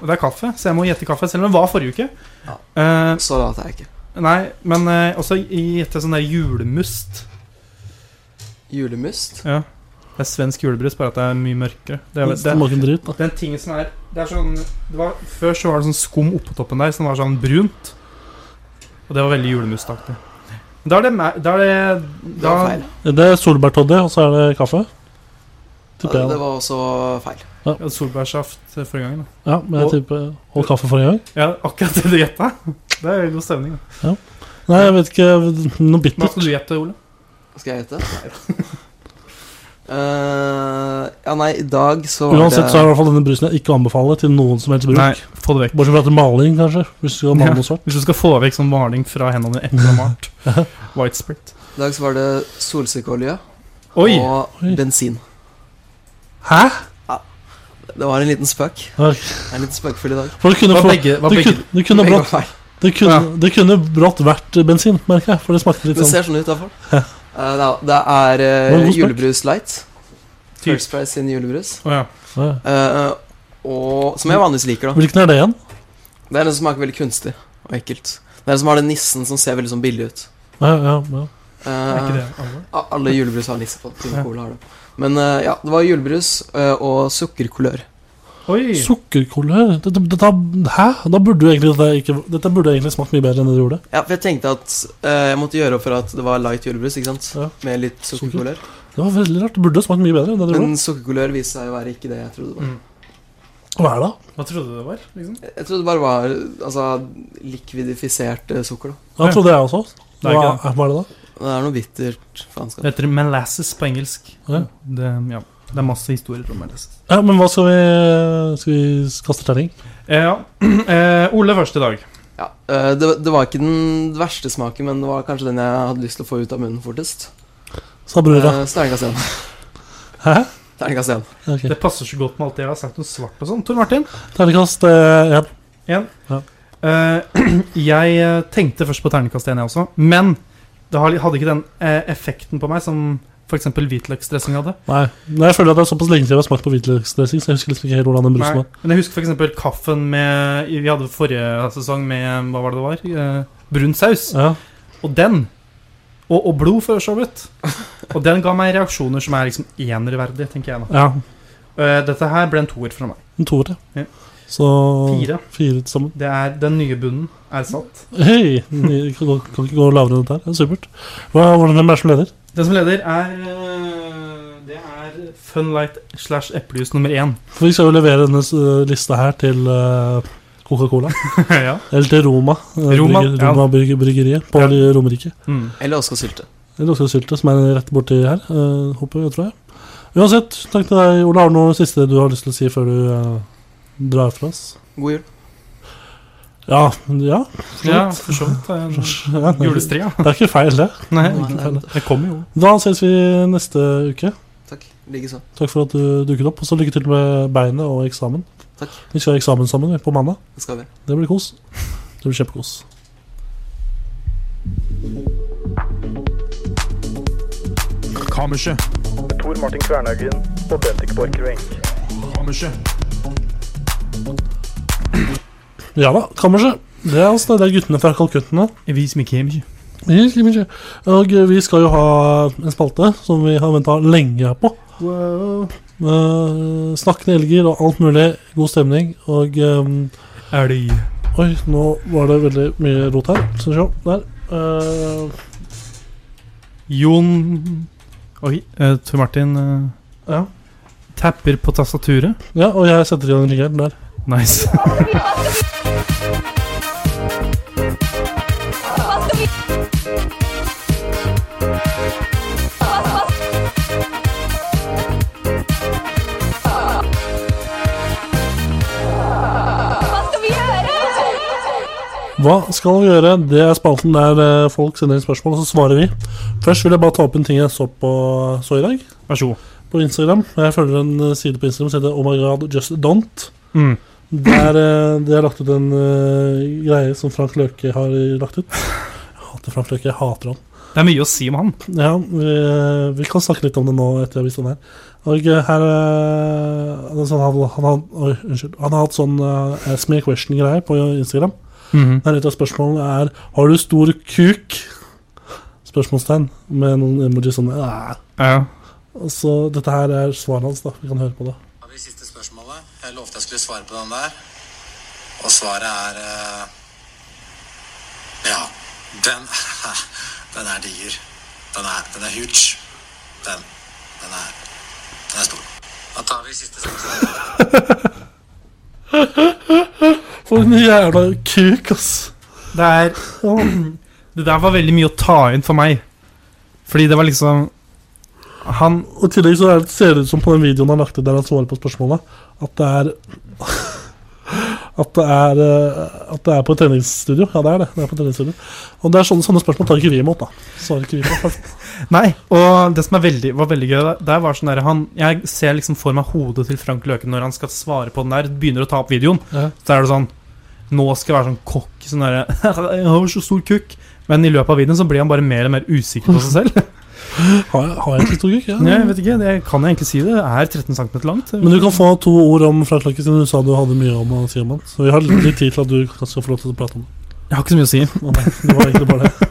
C: Og det er kaffe. Så jeg må gjette kaffe, selv om det var forrige uke.
F: Ja.
C: Eh,
F: Så lat er jeg ikke.
C: Nei, men eh, også gjette sånn der julemust.
F: Julemust?
C: Ja. Det er svensk julebrus, bare at det er mye mørkere. Det er,
B: Den
C: det,
B: smaker drit, da.
C: det er en ting som er Det er sånn det var, Før så var det sånn skum oppå toppen der som var sånn brunt. Og det var veldig julemustaktig. Da er det me- Da er det
F: Det
C: da,
F: var feil.
B: Det er solbærtoddy, og så er det kaffe.
F: Ja,
B: Tipper
F: det- det
B: jeg. da.
F: var også feil.
C: ja, Solbærsaft eh, forrige gang. Da.
B: Ja, men jeg tipper Og kaffe forrige gang?
C: Ja, akkurat det du gjetta. Det er god stemning. Da.
B: Nei, jeg vet ikke. Noe
C: Hva
B: bittert.
C: skal du gjette, Ole?
F: Skal jeg gjette? Eh, ja, nei, i dag så var
B: Uansett
F: det
B: så er i hvert fall denne brusen jeg ikke anbefaler til noen som helst bruk.
C: Nei, få det vekk.
B: Bortsett fra til maling, kanskje. Hvis du skal male
C: Ja.
B: noe svart.
C: Hvis du skal få vekk sånn maling fra hendene dine etter å ha malt. White sprit.
F: I dag så var det solsikkeolje
C: Oi!
F: og
B: Oi.
F: bensin.
B: Hæ?
F: Det var en liten spøk.
B: Ok.
F: Det er En liten spøkfull i dag.
B: For det kunne,
C: Var
B: få,
C: begge, var
B: det
C: begge
B: kunne, det kunne,
F: Begge var
B: brått,
F: feil.
B: det kunne, det kunne brått vært eh, bensin, merker jeg. For det smakte litt
F: Det
B: sånn.
F: ser sånn ut, iallfall. Uh, det er- det er eh,
B: Det var en god spøk.
F: julebrus light. First Price sin julebrus.
C: Å ja.
B: Ja.
F: Eh, og Som jeg vanligvis liker, da.
B: Hvilken er det igjen?
F: Det er den som smaker veldig kunstig og ekkelt. Det er den som har den nissen som ser veldig sånn billig ut.
B: Ja, ja, ja.
F: Eh,
C: Er ikke det alle?
F: Ja, Alle julebrus har nisse på. Kun cola har det. Men eh, ja, det var julebrus eh, og sukkerkulør.
C: Oi!
B: Sukkerkolør? Dette, dette, hæ? Da burde jo egentlig dette, ikke, dette burde egentlig smakt mye bedre enn det det gjorde.
F: Ja, for jeg tenkte at eh, jeg måtte gjøre opp for at det var light julebrus, ikke sant?
B: Ja.
F: Med litt sukkerkulør.
B: Det var veldig rart. Det burde ha smakt mye bedre enn det det
F: Men
B: gjorde.
F: sukkerkulør viste seg å være ikke det jeg trodde det var.
C: Mm.
B: Hva er det, da?
C: Hva trodde du det var? liksom?
F: Jeg trodde det bare var altså, likvidifisert eh, sukker. da
B: Ja, trodde jeg også.
C: Det er
B: Hva
C: ikke
B: hva er det, da?
F: Det er noe bittert faenskap.
C: Det heter molasses på engelsk.
B: Ja.
C: Det, ja. det er masse historier om molasses.
B: Ja, Men hva skal vi Skal vi kaste terning?
C: Eh, ja. eh, Ole først i dag.
F: Ja, eh, det, det var ikke den verste smaken, men det var kanskje den jeg hadde lyst til å få ut av munnen fortest.
B: Sa brura.
F: Eh, så Terningkast én.
B: Hæ?
F: Terningkast én.
B: Ok.
C: Det passer så godt med alt det jeg har sagt om svart og sånn. Tor Martin?
B: Terningkast eh, én.
C: Eh, jeg eh, tenkte først på terningkast 1, jeg også. Men det har- hadde ikke den eh, effekten på meg som f.eks. hvitløksdressing hadde.
B: Nei. Nei, jeg føler at det er såpass lenge siden jeg har smakt på hvitløksdressing, så jeg husker liksom ikke helt hvordan den brusen
C: Nei.
B: var.
C: Men jeg husker f.eks. kaffen med vi hadde forrige sesong med hva var det det var? Eh, brun saus.
B: Ja.
C: Og den og, og blod, for så vidt. Og den ga meg reaksjoner som er liksom enerverdig, tenker jeg. da
B: ja.
C: Eh, Dette her ble en toer fra meg.
B: En toer,
C: Ja.
B: Så
C: Fire.
B: Fire til sammen.
C: Det er Den nye bunnen er satt.
B: Hei! Ni- Kan, gå- kan ikke gå lavere enn dette her. Det er supert. Hva, hvordan er det som leder?
C: Den som leder, er eh, Det er Funlight slash eplejus nummer én.
B: For vi skal jo levere denne eh, lista her til eh, Coca-Cola.
C: ja.
B: Eller til Roma. eh,
C: Roma,
B: brygge-
C: ja.
B: Roma brygge- bryggeriet på Romerike.
C: mm.
F: Eller Oskar Sylte.
B: Eller også Sylte, som er rett borti her. eh, håper jeg, tror jeg. Uansett, takk til deg, Ola. Har du noe siste du har lyst til å si før du eh, drar fra oss?
F: God jul.
B: Ja. ja.
C: ja, for så vidt. eh,
B: ja det, er,
C: Julestria.
B: det er ikke feil, det.
C: Nei,
F: Nei, det er-
C: det kommer jo.
B: Da ses vi neste uke.
F: Takk. Likeså.
B: Takk for at du dukket opp. Og så lykke til med beinet og eksamen.
F: Takk.
B: Vi skal ha eksamen sammen vi, på mandag.
F: Det skal vi.
B: Det blir kos. Det blir kjempekos.
A: Kammerset.
D: Tor Martin Kvernhagen og Bendik Borch Wenche.
A: Kammerset.
B: Ja da, kammerset. Det er oss, det. Det er guttene fra Kalkuttene.
C: Vi som ikke hjem.
B: Og eh, vi skal jo ha en spalte som vi har venta lenge her på. Eh, snakkende elger og alt mulig. God stemning. Og eh,
C: Elg.
B: Oi, nå var det veldig mye rot her. Skal vi se. Der. Eh,
C: Jon Oi, eh, Tor Martin eh,
B: ja.
C: tapper på tastaturet.
B: ja, og jeg setter i gang ringeren der.
C: Nice.
B: Hva skal vi gjøre? Det er spalten der eh, folk sender inn spørsmål, og så svarer vi. Først vil jeg bare ta opp en ting jeg så på så i dag,
C: Vær så god.
B: på Instagram. Jeg følger en eh, side på Instagram som heter Oh my god, just don't.
C: Mm.
B: Der eh, de har lagt ut en eh, greie som Frank Løke har lagt ut. Jeg hater Frank Løke, jeg hater han.
C: Det er mye å si om han.
B: Ja, vi, vi kan snakke litt om det nå etter jeg har vist den her. Og eh, her eh, han, han, han, han, oi, unnskyld. han har hatt sånn eh, Ask me a question-greie på Instagram. Her et av spørsmålene er Har du stor kuk? Spørsmålstegn med noen emoji sånn «Æ».
C: Ja.
B: Og Så Altså, dette her er svaret hans, da. Vi kan høre på det.
G: Da blir siste spørsmålet. Jeg lovte jeg skulle svare på den der. Og svaret er eh, Ja. Den, den er diger. Den er, den er huge. Den, den er Den er stor. Da tar vi siste spørsmål.
B: For en jævla kuk, ass.
C: Det er Det der var veldig mye å ta inn for meg. Fordi det var liksom Han
B: Og i tillegg så er det, ser det ut som på den videoen han lagt ut der han svarer på spørsmålet, at det er At det er eh, At det er på et treningsstudio. Ja, det er det. det er på et treningsstudio Og det er sånne, sånne spørsmål tar ikke vi imot, da. Svarer ikke vi på.
C: Nei, og det som er veldig, var veldig gøy der, der var sånn der, han, Jeg ser liksom for meg hodet til Frank Løken når han skal svare på den der, begynner å ta opp videoen.
B: Ja.
C: Så er det sånn Nå skal jeg være sånn kokk. Sånn derre Jeg har jo så stor kukk. Men i løpet av videoen så blir han bare mer og mer usikker på seg selv.
B: Har jeg, har jeg ikke stor kuk? Ja.
C: Nei, jeg vet ikke, det kan jeg egentlig si det. Det er 13 cm langt.
B: Men du kan få to ord om Frank Løkke, siden du sa du hadde mye om å si om han. Så vi har litt litt tid til at du kanskje skal få lov til å prate om det.
C: Jeg har ikke så mye å si.
B: Å nei, det var egentlig bare det.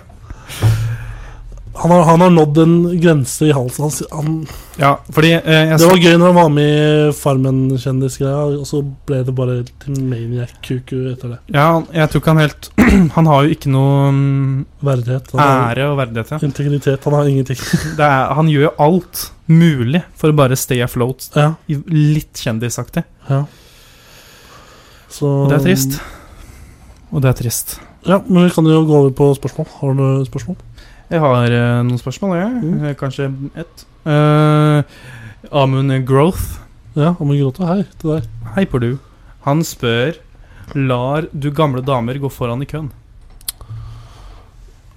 B: han, har, han har nådd en grense i halsen hans. Han,
C: Ja, fordi eh, jeg
B: det var gøy når han var med i Farmen-kjendisgreia, og så ble det bare til maniac-kuku etter det.
C: Ja, jeg tror ikke han helt Han har jo ikke noe mm,
B: Verdighet. Han har
C: ære og verdighet. Ja.
B: integritet. Han har ingenting.
C: Det er, han gjør jo alt mulig for å bare stay afloat.
B: Ja,
C: i- Litt kjendisaktig.
B: ja. Så
C: Og det er trist. Og det er trist.
B: Ja, men vi kan jo gå over på spørsmål. Har du noe spørsmål?
C: Jeg har eh, noen spørsmål, jeg.
B: Mm.
C: Eh, Kanskje ett. Eh, Amund Growth,
B: Ja, om vi gråter. Hei til deg.
C: hei på du. Han spør Lar du gamle damer gå foran i køen?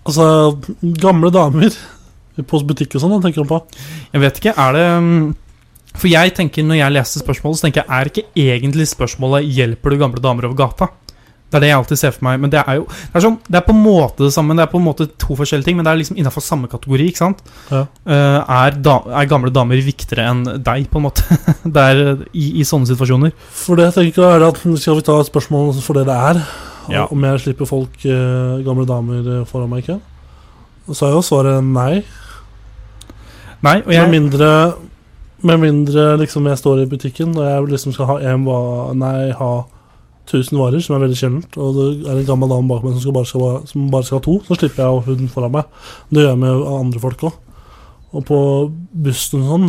B: Altså, gamle damer på butikk og sånn, da tenker han på.
C: Jeg vet ikke, er det mm, For jeg tenker, når jeg leste spørsmålet, så tenker jeg Er ikke egentlig spørsmålet 'Hjelper du gamle damer over gata?' Det er det jeg alltid ser for meg. Men det er jo Det er, sånn, det er på en måte det samme, det er på en måte to forskjellige ting, men det er liksom innafor samme kategori, ikke sant?
B: Ja.
C: Eh, er, da, er gamle damer viktigere enn deg, på en måte? det er eh, i, i sånne situasjoner.
B: For det jeg tenker er at nå Skal vi ta et spørsmål for det det er?
C: Ja.
B: Om jeg slipper folk, eh, gamle damer, eh, foran meg i køen? Så er jo svaret nei.
C: Nei, og jeg
B: Med mindre Med mindre liksom jeg står i butikken og jeg liksom skal ha en va Nei, ha 1000 varer, som er veldig sjeldent, og det er en gammel dame bak meg som, skal bare skal, ha- som bare skal ha to, så slipper jeg hun foran meg. Det gjør jeg med andre folk òg. Og på bussen og sånn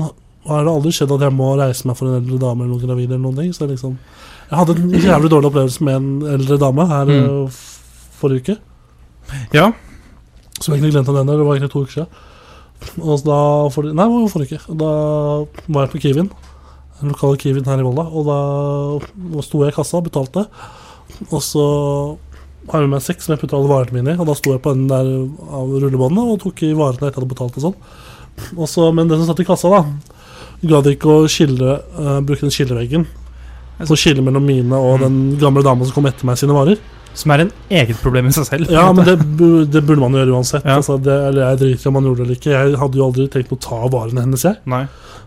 B: har det aldri skjedd at jeg må reise meg for en eldre dame eller noen gravid eller noen ting. Så det er liksom Jeg hadde en jævlig dårlig opplevelse med en eldre dame her
C: Mm.
B: eh, f- forrige uke.
C: Ja.
B: Som jeg egentlig glemte å nevne, det var egentlig to uker siden. Og så da for, Nei, det var jo forrige uke. Da var jeg på Kiwin, den lokale Kiwin her i Volda, og da da sto jeg i kassa og betalte. Og så har jeg med meg sekk som jeg putter alle varene mine i, og da sto jeg på den der av rullebåndet og tok i varene etter at jeg hadde betalt og sånn. Og så, men den som satt i kassa, da, gadd ikke å skille, eh, bruke den skilleveggen. Så skille mellom mine og den gamle dama som kom etter meg sine varer.
C: Som er en eget problem i seg selv. på en
B: Ja,
C: måte.
B: men det, bu- det burde man jo gjøre uansett.
C: Ja.
B: Altså, det, eller jeg driter i om man gjorde det eller ikke. Jeg hadde jo aldri tenkt å ta varene hennes, jeg.
C: Nei.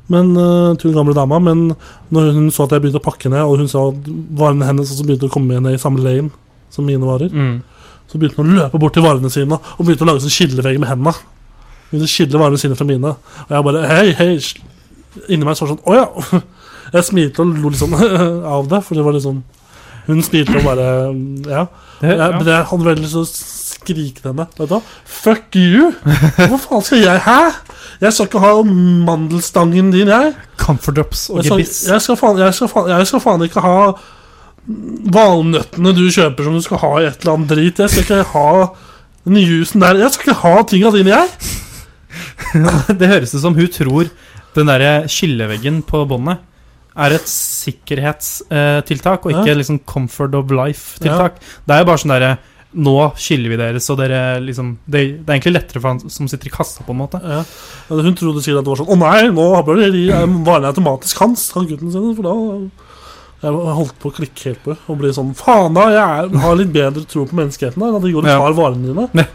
B: Men øh, til den gamle dama. Men når hun så at jeg begynte å pakke ned, og hun sa at varene hennes også begynte å komme ned i samme lane som mine varer,
C: Mm.
B: så begynte hun å løpe bort til varene sine og begynte å lage sånn skillevegg med hendene. Hun Begynte å skille varene sine fra mine. Og jeg bare hei, hei. sl- Inni meg så var det sånn å ja. Jeg smilte og lo litt sånn av det, for det var liksom Hun smilte og bare ja.
C: Det,
B: Jeg,
C: ja.
B: men jeg hadde veldig lyst til å skrike til henne. Vet du hva? Fuck you! Hva faen skal jeg Hæ? Jeg skal ikke ha mandelstangen din, jeg.
C: Comfort drops og
B: Jeg skal,
C: gebiss.
B: sånn, jeg, skal faen, jeg, skal faen, jeg skal faen ikke ha valnøttene du kjøper som du skal ha i et eller annet drit. Jeg skal ikke ha den jusen der. Jeg skal ikke ha tinga dine, jeg.
C: Det høres ut som hun tror den der skilleveggen på båndet er et sikkerhetstiltak, og ikke
B: Ja.
C: liksom comfort of life-tiltak. Det er jo bare sånn derre Nå skiller vi dere, så dere liksom det, det er egentlig lettere for han som sitter i kassa, på en måte.
B: Ja. Men Hun trodde sikkert at det var sånn Å nei, nå ble de eh, varene automatisk hans, han gutten sin. For da Jeg holdt på å klikke helt på det, og bli sånn Faen, da. Jeg er- har litt bedre tro på menneskeheten da, enn at de går og
C: Ja.
B: tar varene dine.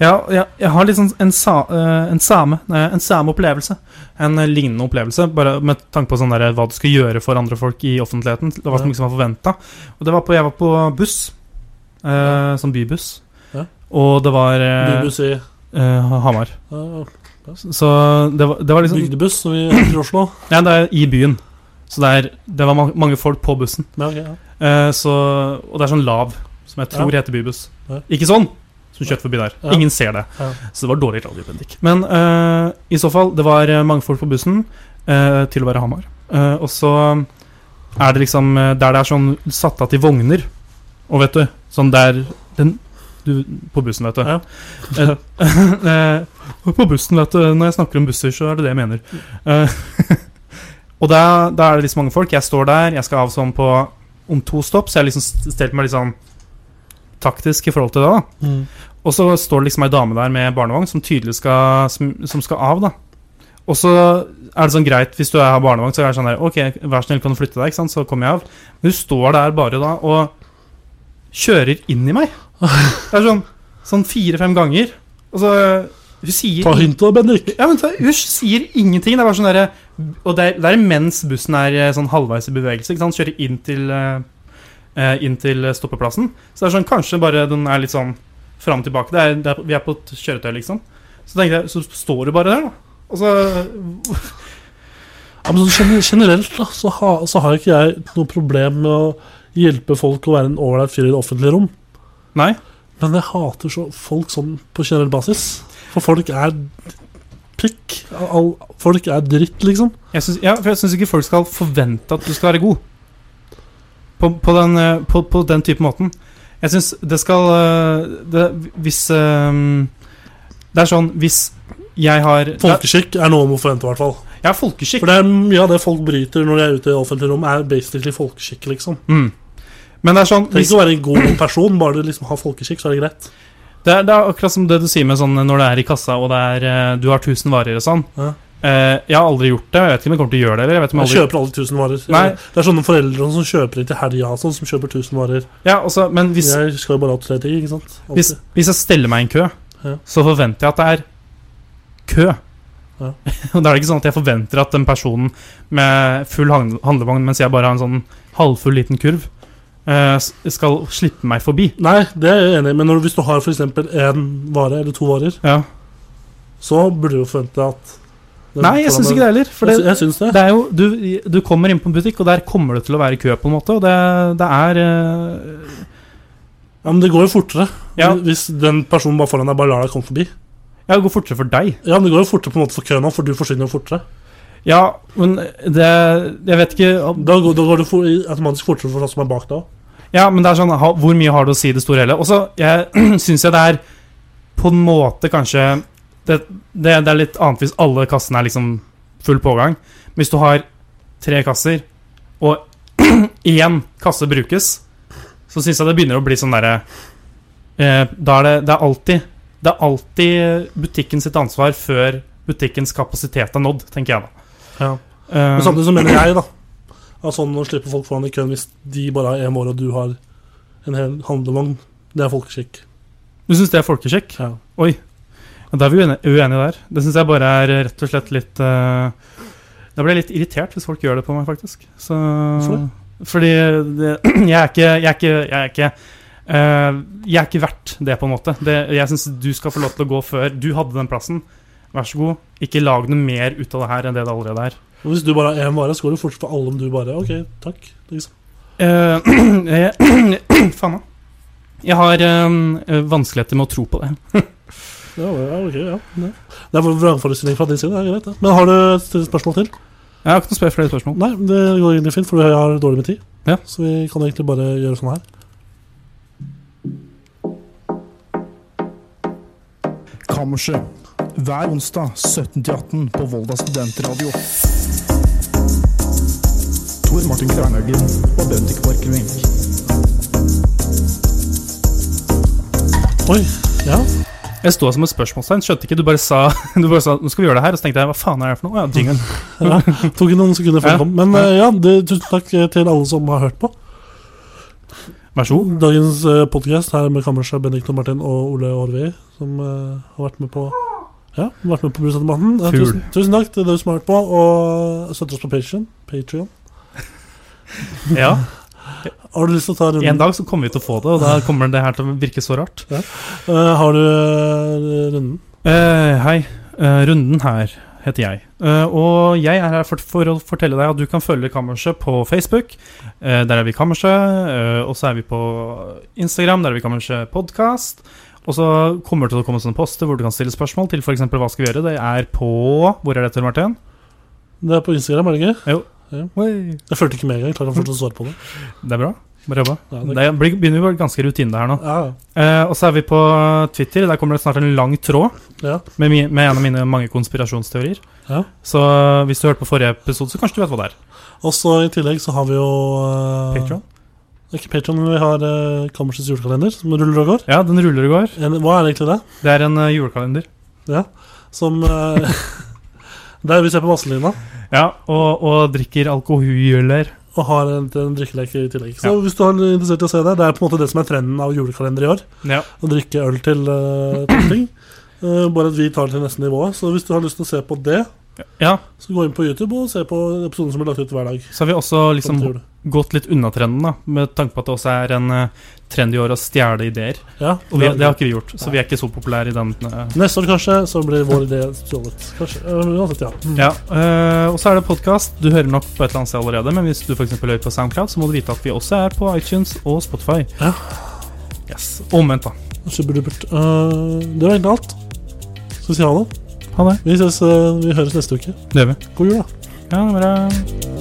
C: Ja, jeg, jeg har liksom en, sa, eh, en same nei, En sameopplevelse. En eh, lignende opplevelse, bare med tanke på sånn der, hva du skal gjøre for andre folk i offentligheten. Det var
B: Ja.
C: så mye som var forventa. Og det var på, jeg var på buss. eh, Sånn bybuss.
B: Ja.
C: Og det var eh,
B: Bybuss i
C: eh, Hamar.
B: eh,
C: Så det var, det var liksom
B: bygdebuss, som vi heter i Oslo.
C: Ja, det er i byen. Så det, er, det var ma- mange folk på bussen.
B: Ja, ok, ja.
C: Eh, så, og det er sånn lav, som jeg tror heter bybuss.
B: Ja.
C: Ikke sånn som kjørt forbi der.
B: Ja.
C: Ingen ser det.
B: Ja.
C: Så det var dårlig radio, Bendik. Men eh, i så fall, det var eh, mange folk på bussen eh, til å være Hamar. Eh, og så er det liksom eh, der det er sånn satt av til vogner. Og vet du, sånn der den, du, På bussen, vet du.
B: Ja.
C: Eh, eh, på bussen, vet du. Når jeg snakker om busser, så er det det jeg mener. Eh, og da, da er det liksom mange folk. Jeg står der, jeg skal av sånn på om to stopp, så jeg har liksom st- stelt meg litt sånn taktisk i forhold til det. da
B: Mm.
C: og så står det liksom ei dame der med barnevogn som tydelig skal, som, som skal av, da. Og så er det sånn greit, hvis du har barnevogn, så er det sånn der Ok, vær snill, kan du flytte deg, ikke sant, så kommer jeg av. Men du står der bare da og kjører inn i meg. Det er sånn, sånn fire-fem ganger. Og så Hun sier
B: Ta hintet, Bendik.
C: ja, men ta- Hun sier ingenting. Det er bare sånn derre Og det er, det er mens bussen er eh, sånn halvveis i bevegelse. Ikke sant? Kjører inn til, eh, eh, inn til eh, stoppeplassen. Så det er sånn kanskje bare den er litt sånn fram og tilbake. Det er, det er, vi er på et kjøretøy, liksom. Så tenkte jeg, så står du bare der, da. Og så
B: Ja, men sånn gen- generelt da, så, ha, så har ikke jeg noe problem med å hjelpe folk å være en ålreit fyr i det offentlige rom.
C: Nei.
B: Men jeg hater så folk sånn på generell basis. For folk er pikk. All, folk er dritt, liksom.
C: Jeg syns, ja, for jeg syns ikke folk skal forvente at du skal være god. På, på, den, eh, på, på den type måten. Jeg syns det skal eh, det, Hvis eh, Det er sånn hvis jeg har det
B: Folkeskikk er noe man må forvente, i hvert fall.
C: er- Jeg har folkeskikk.
B: For det er mye av det folk bryter når de er ute i det offentlige rom, er basically folkeskikk, liksom.
C: Mm. Men det er sånn
B: Trenger
C: hvis,
B: ikke å være en god person, bare du liksom har folkeskikk, så er det greit.
C: det, er, det er akkurat som det du sier med sånn når det er i kassa og det er, eh, du har 1000 varer og sånn.
B: Ja.
C: Eh, jeg har aldri gjort det. og Jeg vet ikke om jeg kommer til å gjøre det. Eller jeg vet ikke om
B: Man
C: jeg aldri...
B: kjøper alle tusen varer.
C: Nei.
B: Det er sånne foreldre som kjøper inn til helga, og sånn, som kjøper tusen varer.
C: ja, også, men hvis,
B: Jeg skal jo bare ha tre ting, ikke sant? Alltid.
C: Hvis, hvis jeg steller meg i en kø,
B: Ja.
C: så forventer jeg at det er kø.
B: Ja.
C: Og da er det ikke sånn at jeg forventer at den personen med full hand- handlevogn, mens jeg bare har en sånn halvfull liten kurv, eh, s- skal slippe meg forbi.
B: Nei, det er jeg enig i, men når, hvis du har f.eks. én vare eller to varer,
C: Ja.
B: så burde du jo forvente at
C: Nei, jeg syns ikke det heller. For
B: Jeg, sy-
C: det,
B: jeg syns det.
C: det er jo, du, du kommer inn på en butikk, og der kommer det til å være kø, på en måte. Og det, det er eh,
B: Ja, Men det går jo fortere
C: Ja,
B: hvis den personen bare foran deg bare lar deg komme forbi.
C: ja, det går fortere for deg.
B: Ja, men Det går jo fortere på en måte for køen nå, for du forsvinner jo fortere.
C: Ja, men det Jeg vet ikke
B: Da går, da går det for, automatisk fortere for han som er bak deg òg.
C: Ja, men det er sånn, ha, hvor mye har du å si i det store hele? Og så syns jeg det er på en måte kanskje det, det, det er litt annet hvis alle kassene er liksom full pågang. Men hvis du har tre kasser, og én kasse brukes, så syns jeg det begynner å bli sånn derre eh, Da er det, det er alltid det er alltid butikken sitt ansvar før butikkens kapasitet er nådd, tenker jeg da.
B: Ja.
C: Eh,
B: Men sånn samtidig så mener jeg, da at sånn å slippe folk foran i køen hvis de bare har én vare, og du har en hel handlevogn, det er folkeskikk.
C: du syns det er folkeskikk?
B: Ja.
C: Ja, Da er vi uenige, uenige der. Det syns jeg bare er rett og slett litt eh, Da blir jeg litt irritert hvis folk gjør det på meg, faktisk. Så,
B: Hvorfor
C: fordi det, jeg er ikke Jeg er ikke, jeg er ikke eh, jeg er ikke verdt det, på en måte. Det, jeg syns du skal få lov til å gå før du hadde den plassen. Vær så god. Ikke lag noe mer ut av det her enn det det allerede er.
B: Og Hvis du bare har én vare, så går det fortere for alle om du bare OK, takk. Liksom.
C: Eh, jeg- faen meg. Jeg har eh, vanskeligheter med å tro på det.
B: Ja, ja, ok, ja. ja. Det er bare vrangforestilling fra din side. Det er greit, det. Men har du et spørsmål til?
C: Jeg har ikke noe spør flere spørsmål.
B: Nei, det går egentlig fint, for jeg har dårlig med tid.
C: Ja.
B: Så vi kan egentlig bare gjøre sånn her.
D: Kammerset. Hver onsdag 17-18 på Volda Studentradio. Tor Martin Kvernhaugen og Bendik Borchgrevink.
B: Oi, ja.
C: Jeg sto her som et spørsmålstegn. Skjønte ikke. Du bare sa Du bare sa, nå skal vi gjøre det her. Og så tenkte jeg hva faen er det for noe? Å, Ja, jingle.
B: ja. Tok noen sekunder før
C: Ja.
B: jeg kom. Men eh, ja, det, tusen takk eh, til alle som har hørt på.
C: Vær så god.
B: Dagens podkast her med kammerset Benedikt og Martin og Ole Aarvi, som eh, har vært med på ja, vært med på Brusatematen. Ja,
C: Fugl.
B: tusen, tusen takk til dere som har hørt på, og støtter oss på Patreon Patreon.
C: Ja,
B: Har du lyst til å ta runden?
C: En dag så kommer vi til å få det, og da kommer det her til å virke så rart.
B: Eh, har du eh, runden?
C: Eh, hei. Eh, runden her heter jeg. Eh, og jeg er her for, for å fortelle deg at du kan følge Kammerset på Facebook. Eh, der er vi Kammerset. eh, og så er vi på Instagram, der er vi Kammerset Podcast. Og så kommer det til å komme sånne poster hvor du kan stille spørsmål til f.eks. hva skal vi gjøre. Det er på Hvor er dette, Martin?
B: Det er på Instagram, er det ikke?
C: Oi.
B: Jeg fulgte ikke med engang. Klarer han fortsatt å svare på det?
C: Det er bra. Bra jobba.
B: Ja,
C: det
B: det-
C: blir, begynner vi å bli ganske rutinede her nå.
B: Ja, ja.
C: Eh, og så er vi på Twitter. Der kommer det snart en lang tråd
B: Ja.
C: med, mi, med en av mine mange konspirasjonsteorier.
B: Ja.
C: Så eh, hvis du hørte på forrige episode, så kanskje du vet hva det er.
B: Og så i tillegg så har vi jo uh,
C: Patreon.
B: Ikke Patreon, men vi har uh, Kammersets julekalender som ruller og går.
C: Ja, den ruller og går.
B: En, hva er egentlig det?
C: Det er en eh, julekalender.
B: Som eh, Der vi ser på Vazelina
C: Ja, og, og drikker alkoholer.
B: og har en, en drikkelek i tillegg. Så
C: Ja.
B: hvis du er interessert i å se det, det er på en måte det som er trenden av julekalender i år.
C: Ja.
B: Å drikke øl til, eh, til ting. Eh, bare at vi tar det til neste nivå. Så hvis du har lyst til å se på det,
C: ja.
B: så gå inn på YouTube og se på episoden som blir lagt ut hver dag.
C: Så har vi også liksom
B: Sånn til jul.
C: gått litt unna trenden, da, med tanke på at det også er en eh, trend i år å stjele ideer.
B: Ja,
C: Og vi, det har ikke vi gjort, så vi er ikke så populære i den. eh,
B: Neste år kanskje, så blir vår idé stjålet. Kanskje. Eh, men Uansett, ja.
C: Ja, øh, Og så er det podkast. Du hører nok på et eller annet sted allerede, men hvis du for eksempel hører på SoundCloud, så må du vite at vi også er på iTunes og Spotify.
B: Ja.
C: Yes, Omvendt, da.
B: Superdupert. Eh, det var egentlig alt. Skal vi si ha det?
C: Ha det.
B: Vi ses, eh, vi høres neste uke.
C: Det gjør vi.
B: God jul, da.
C: Ja, det er bra.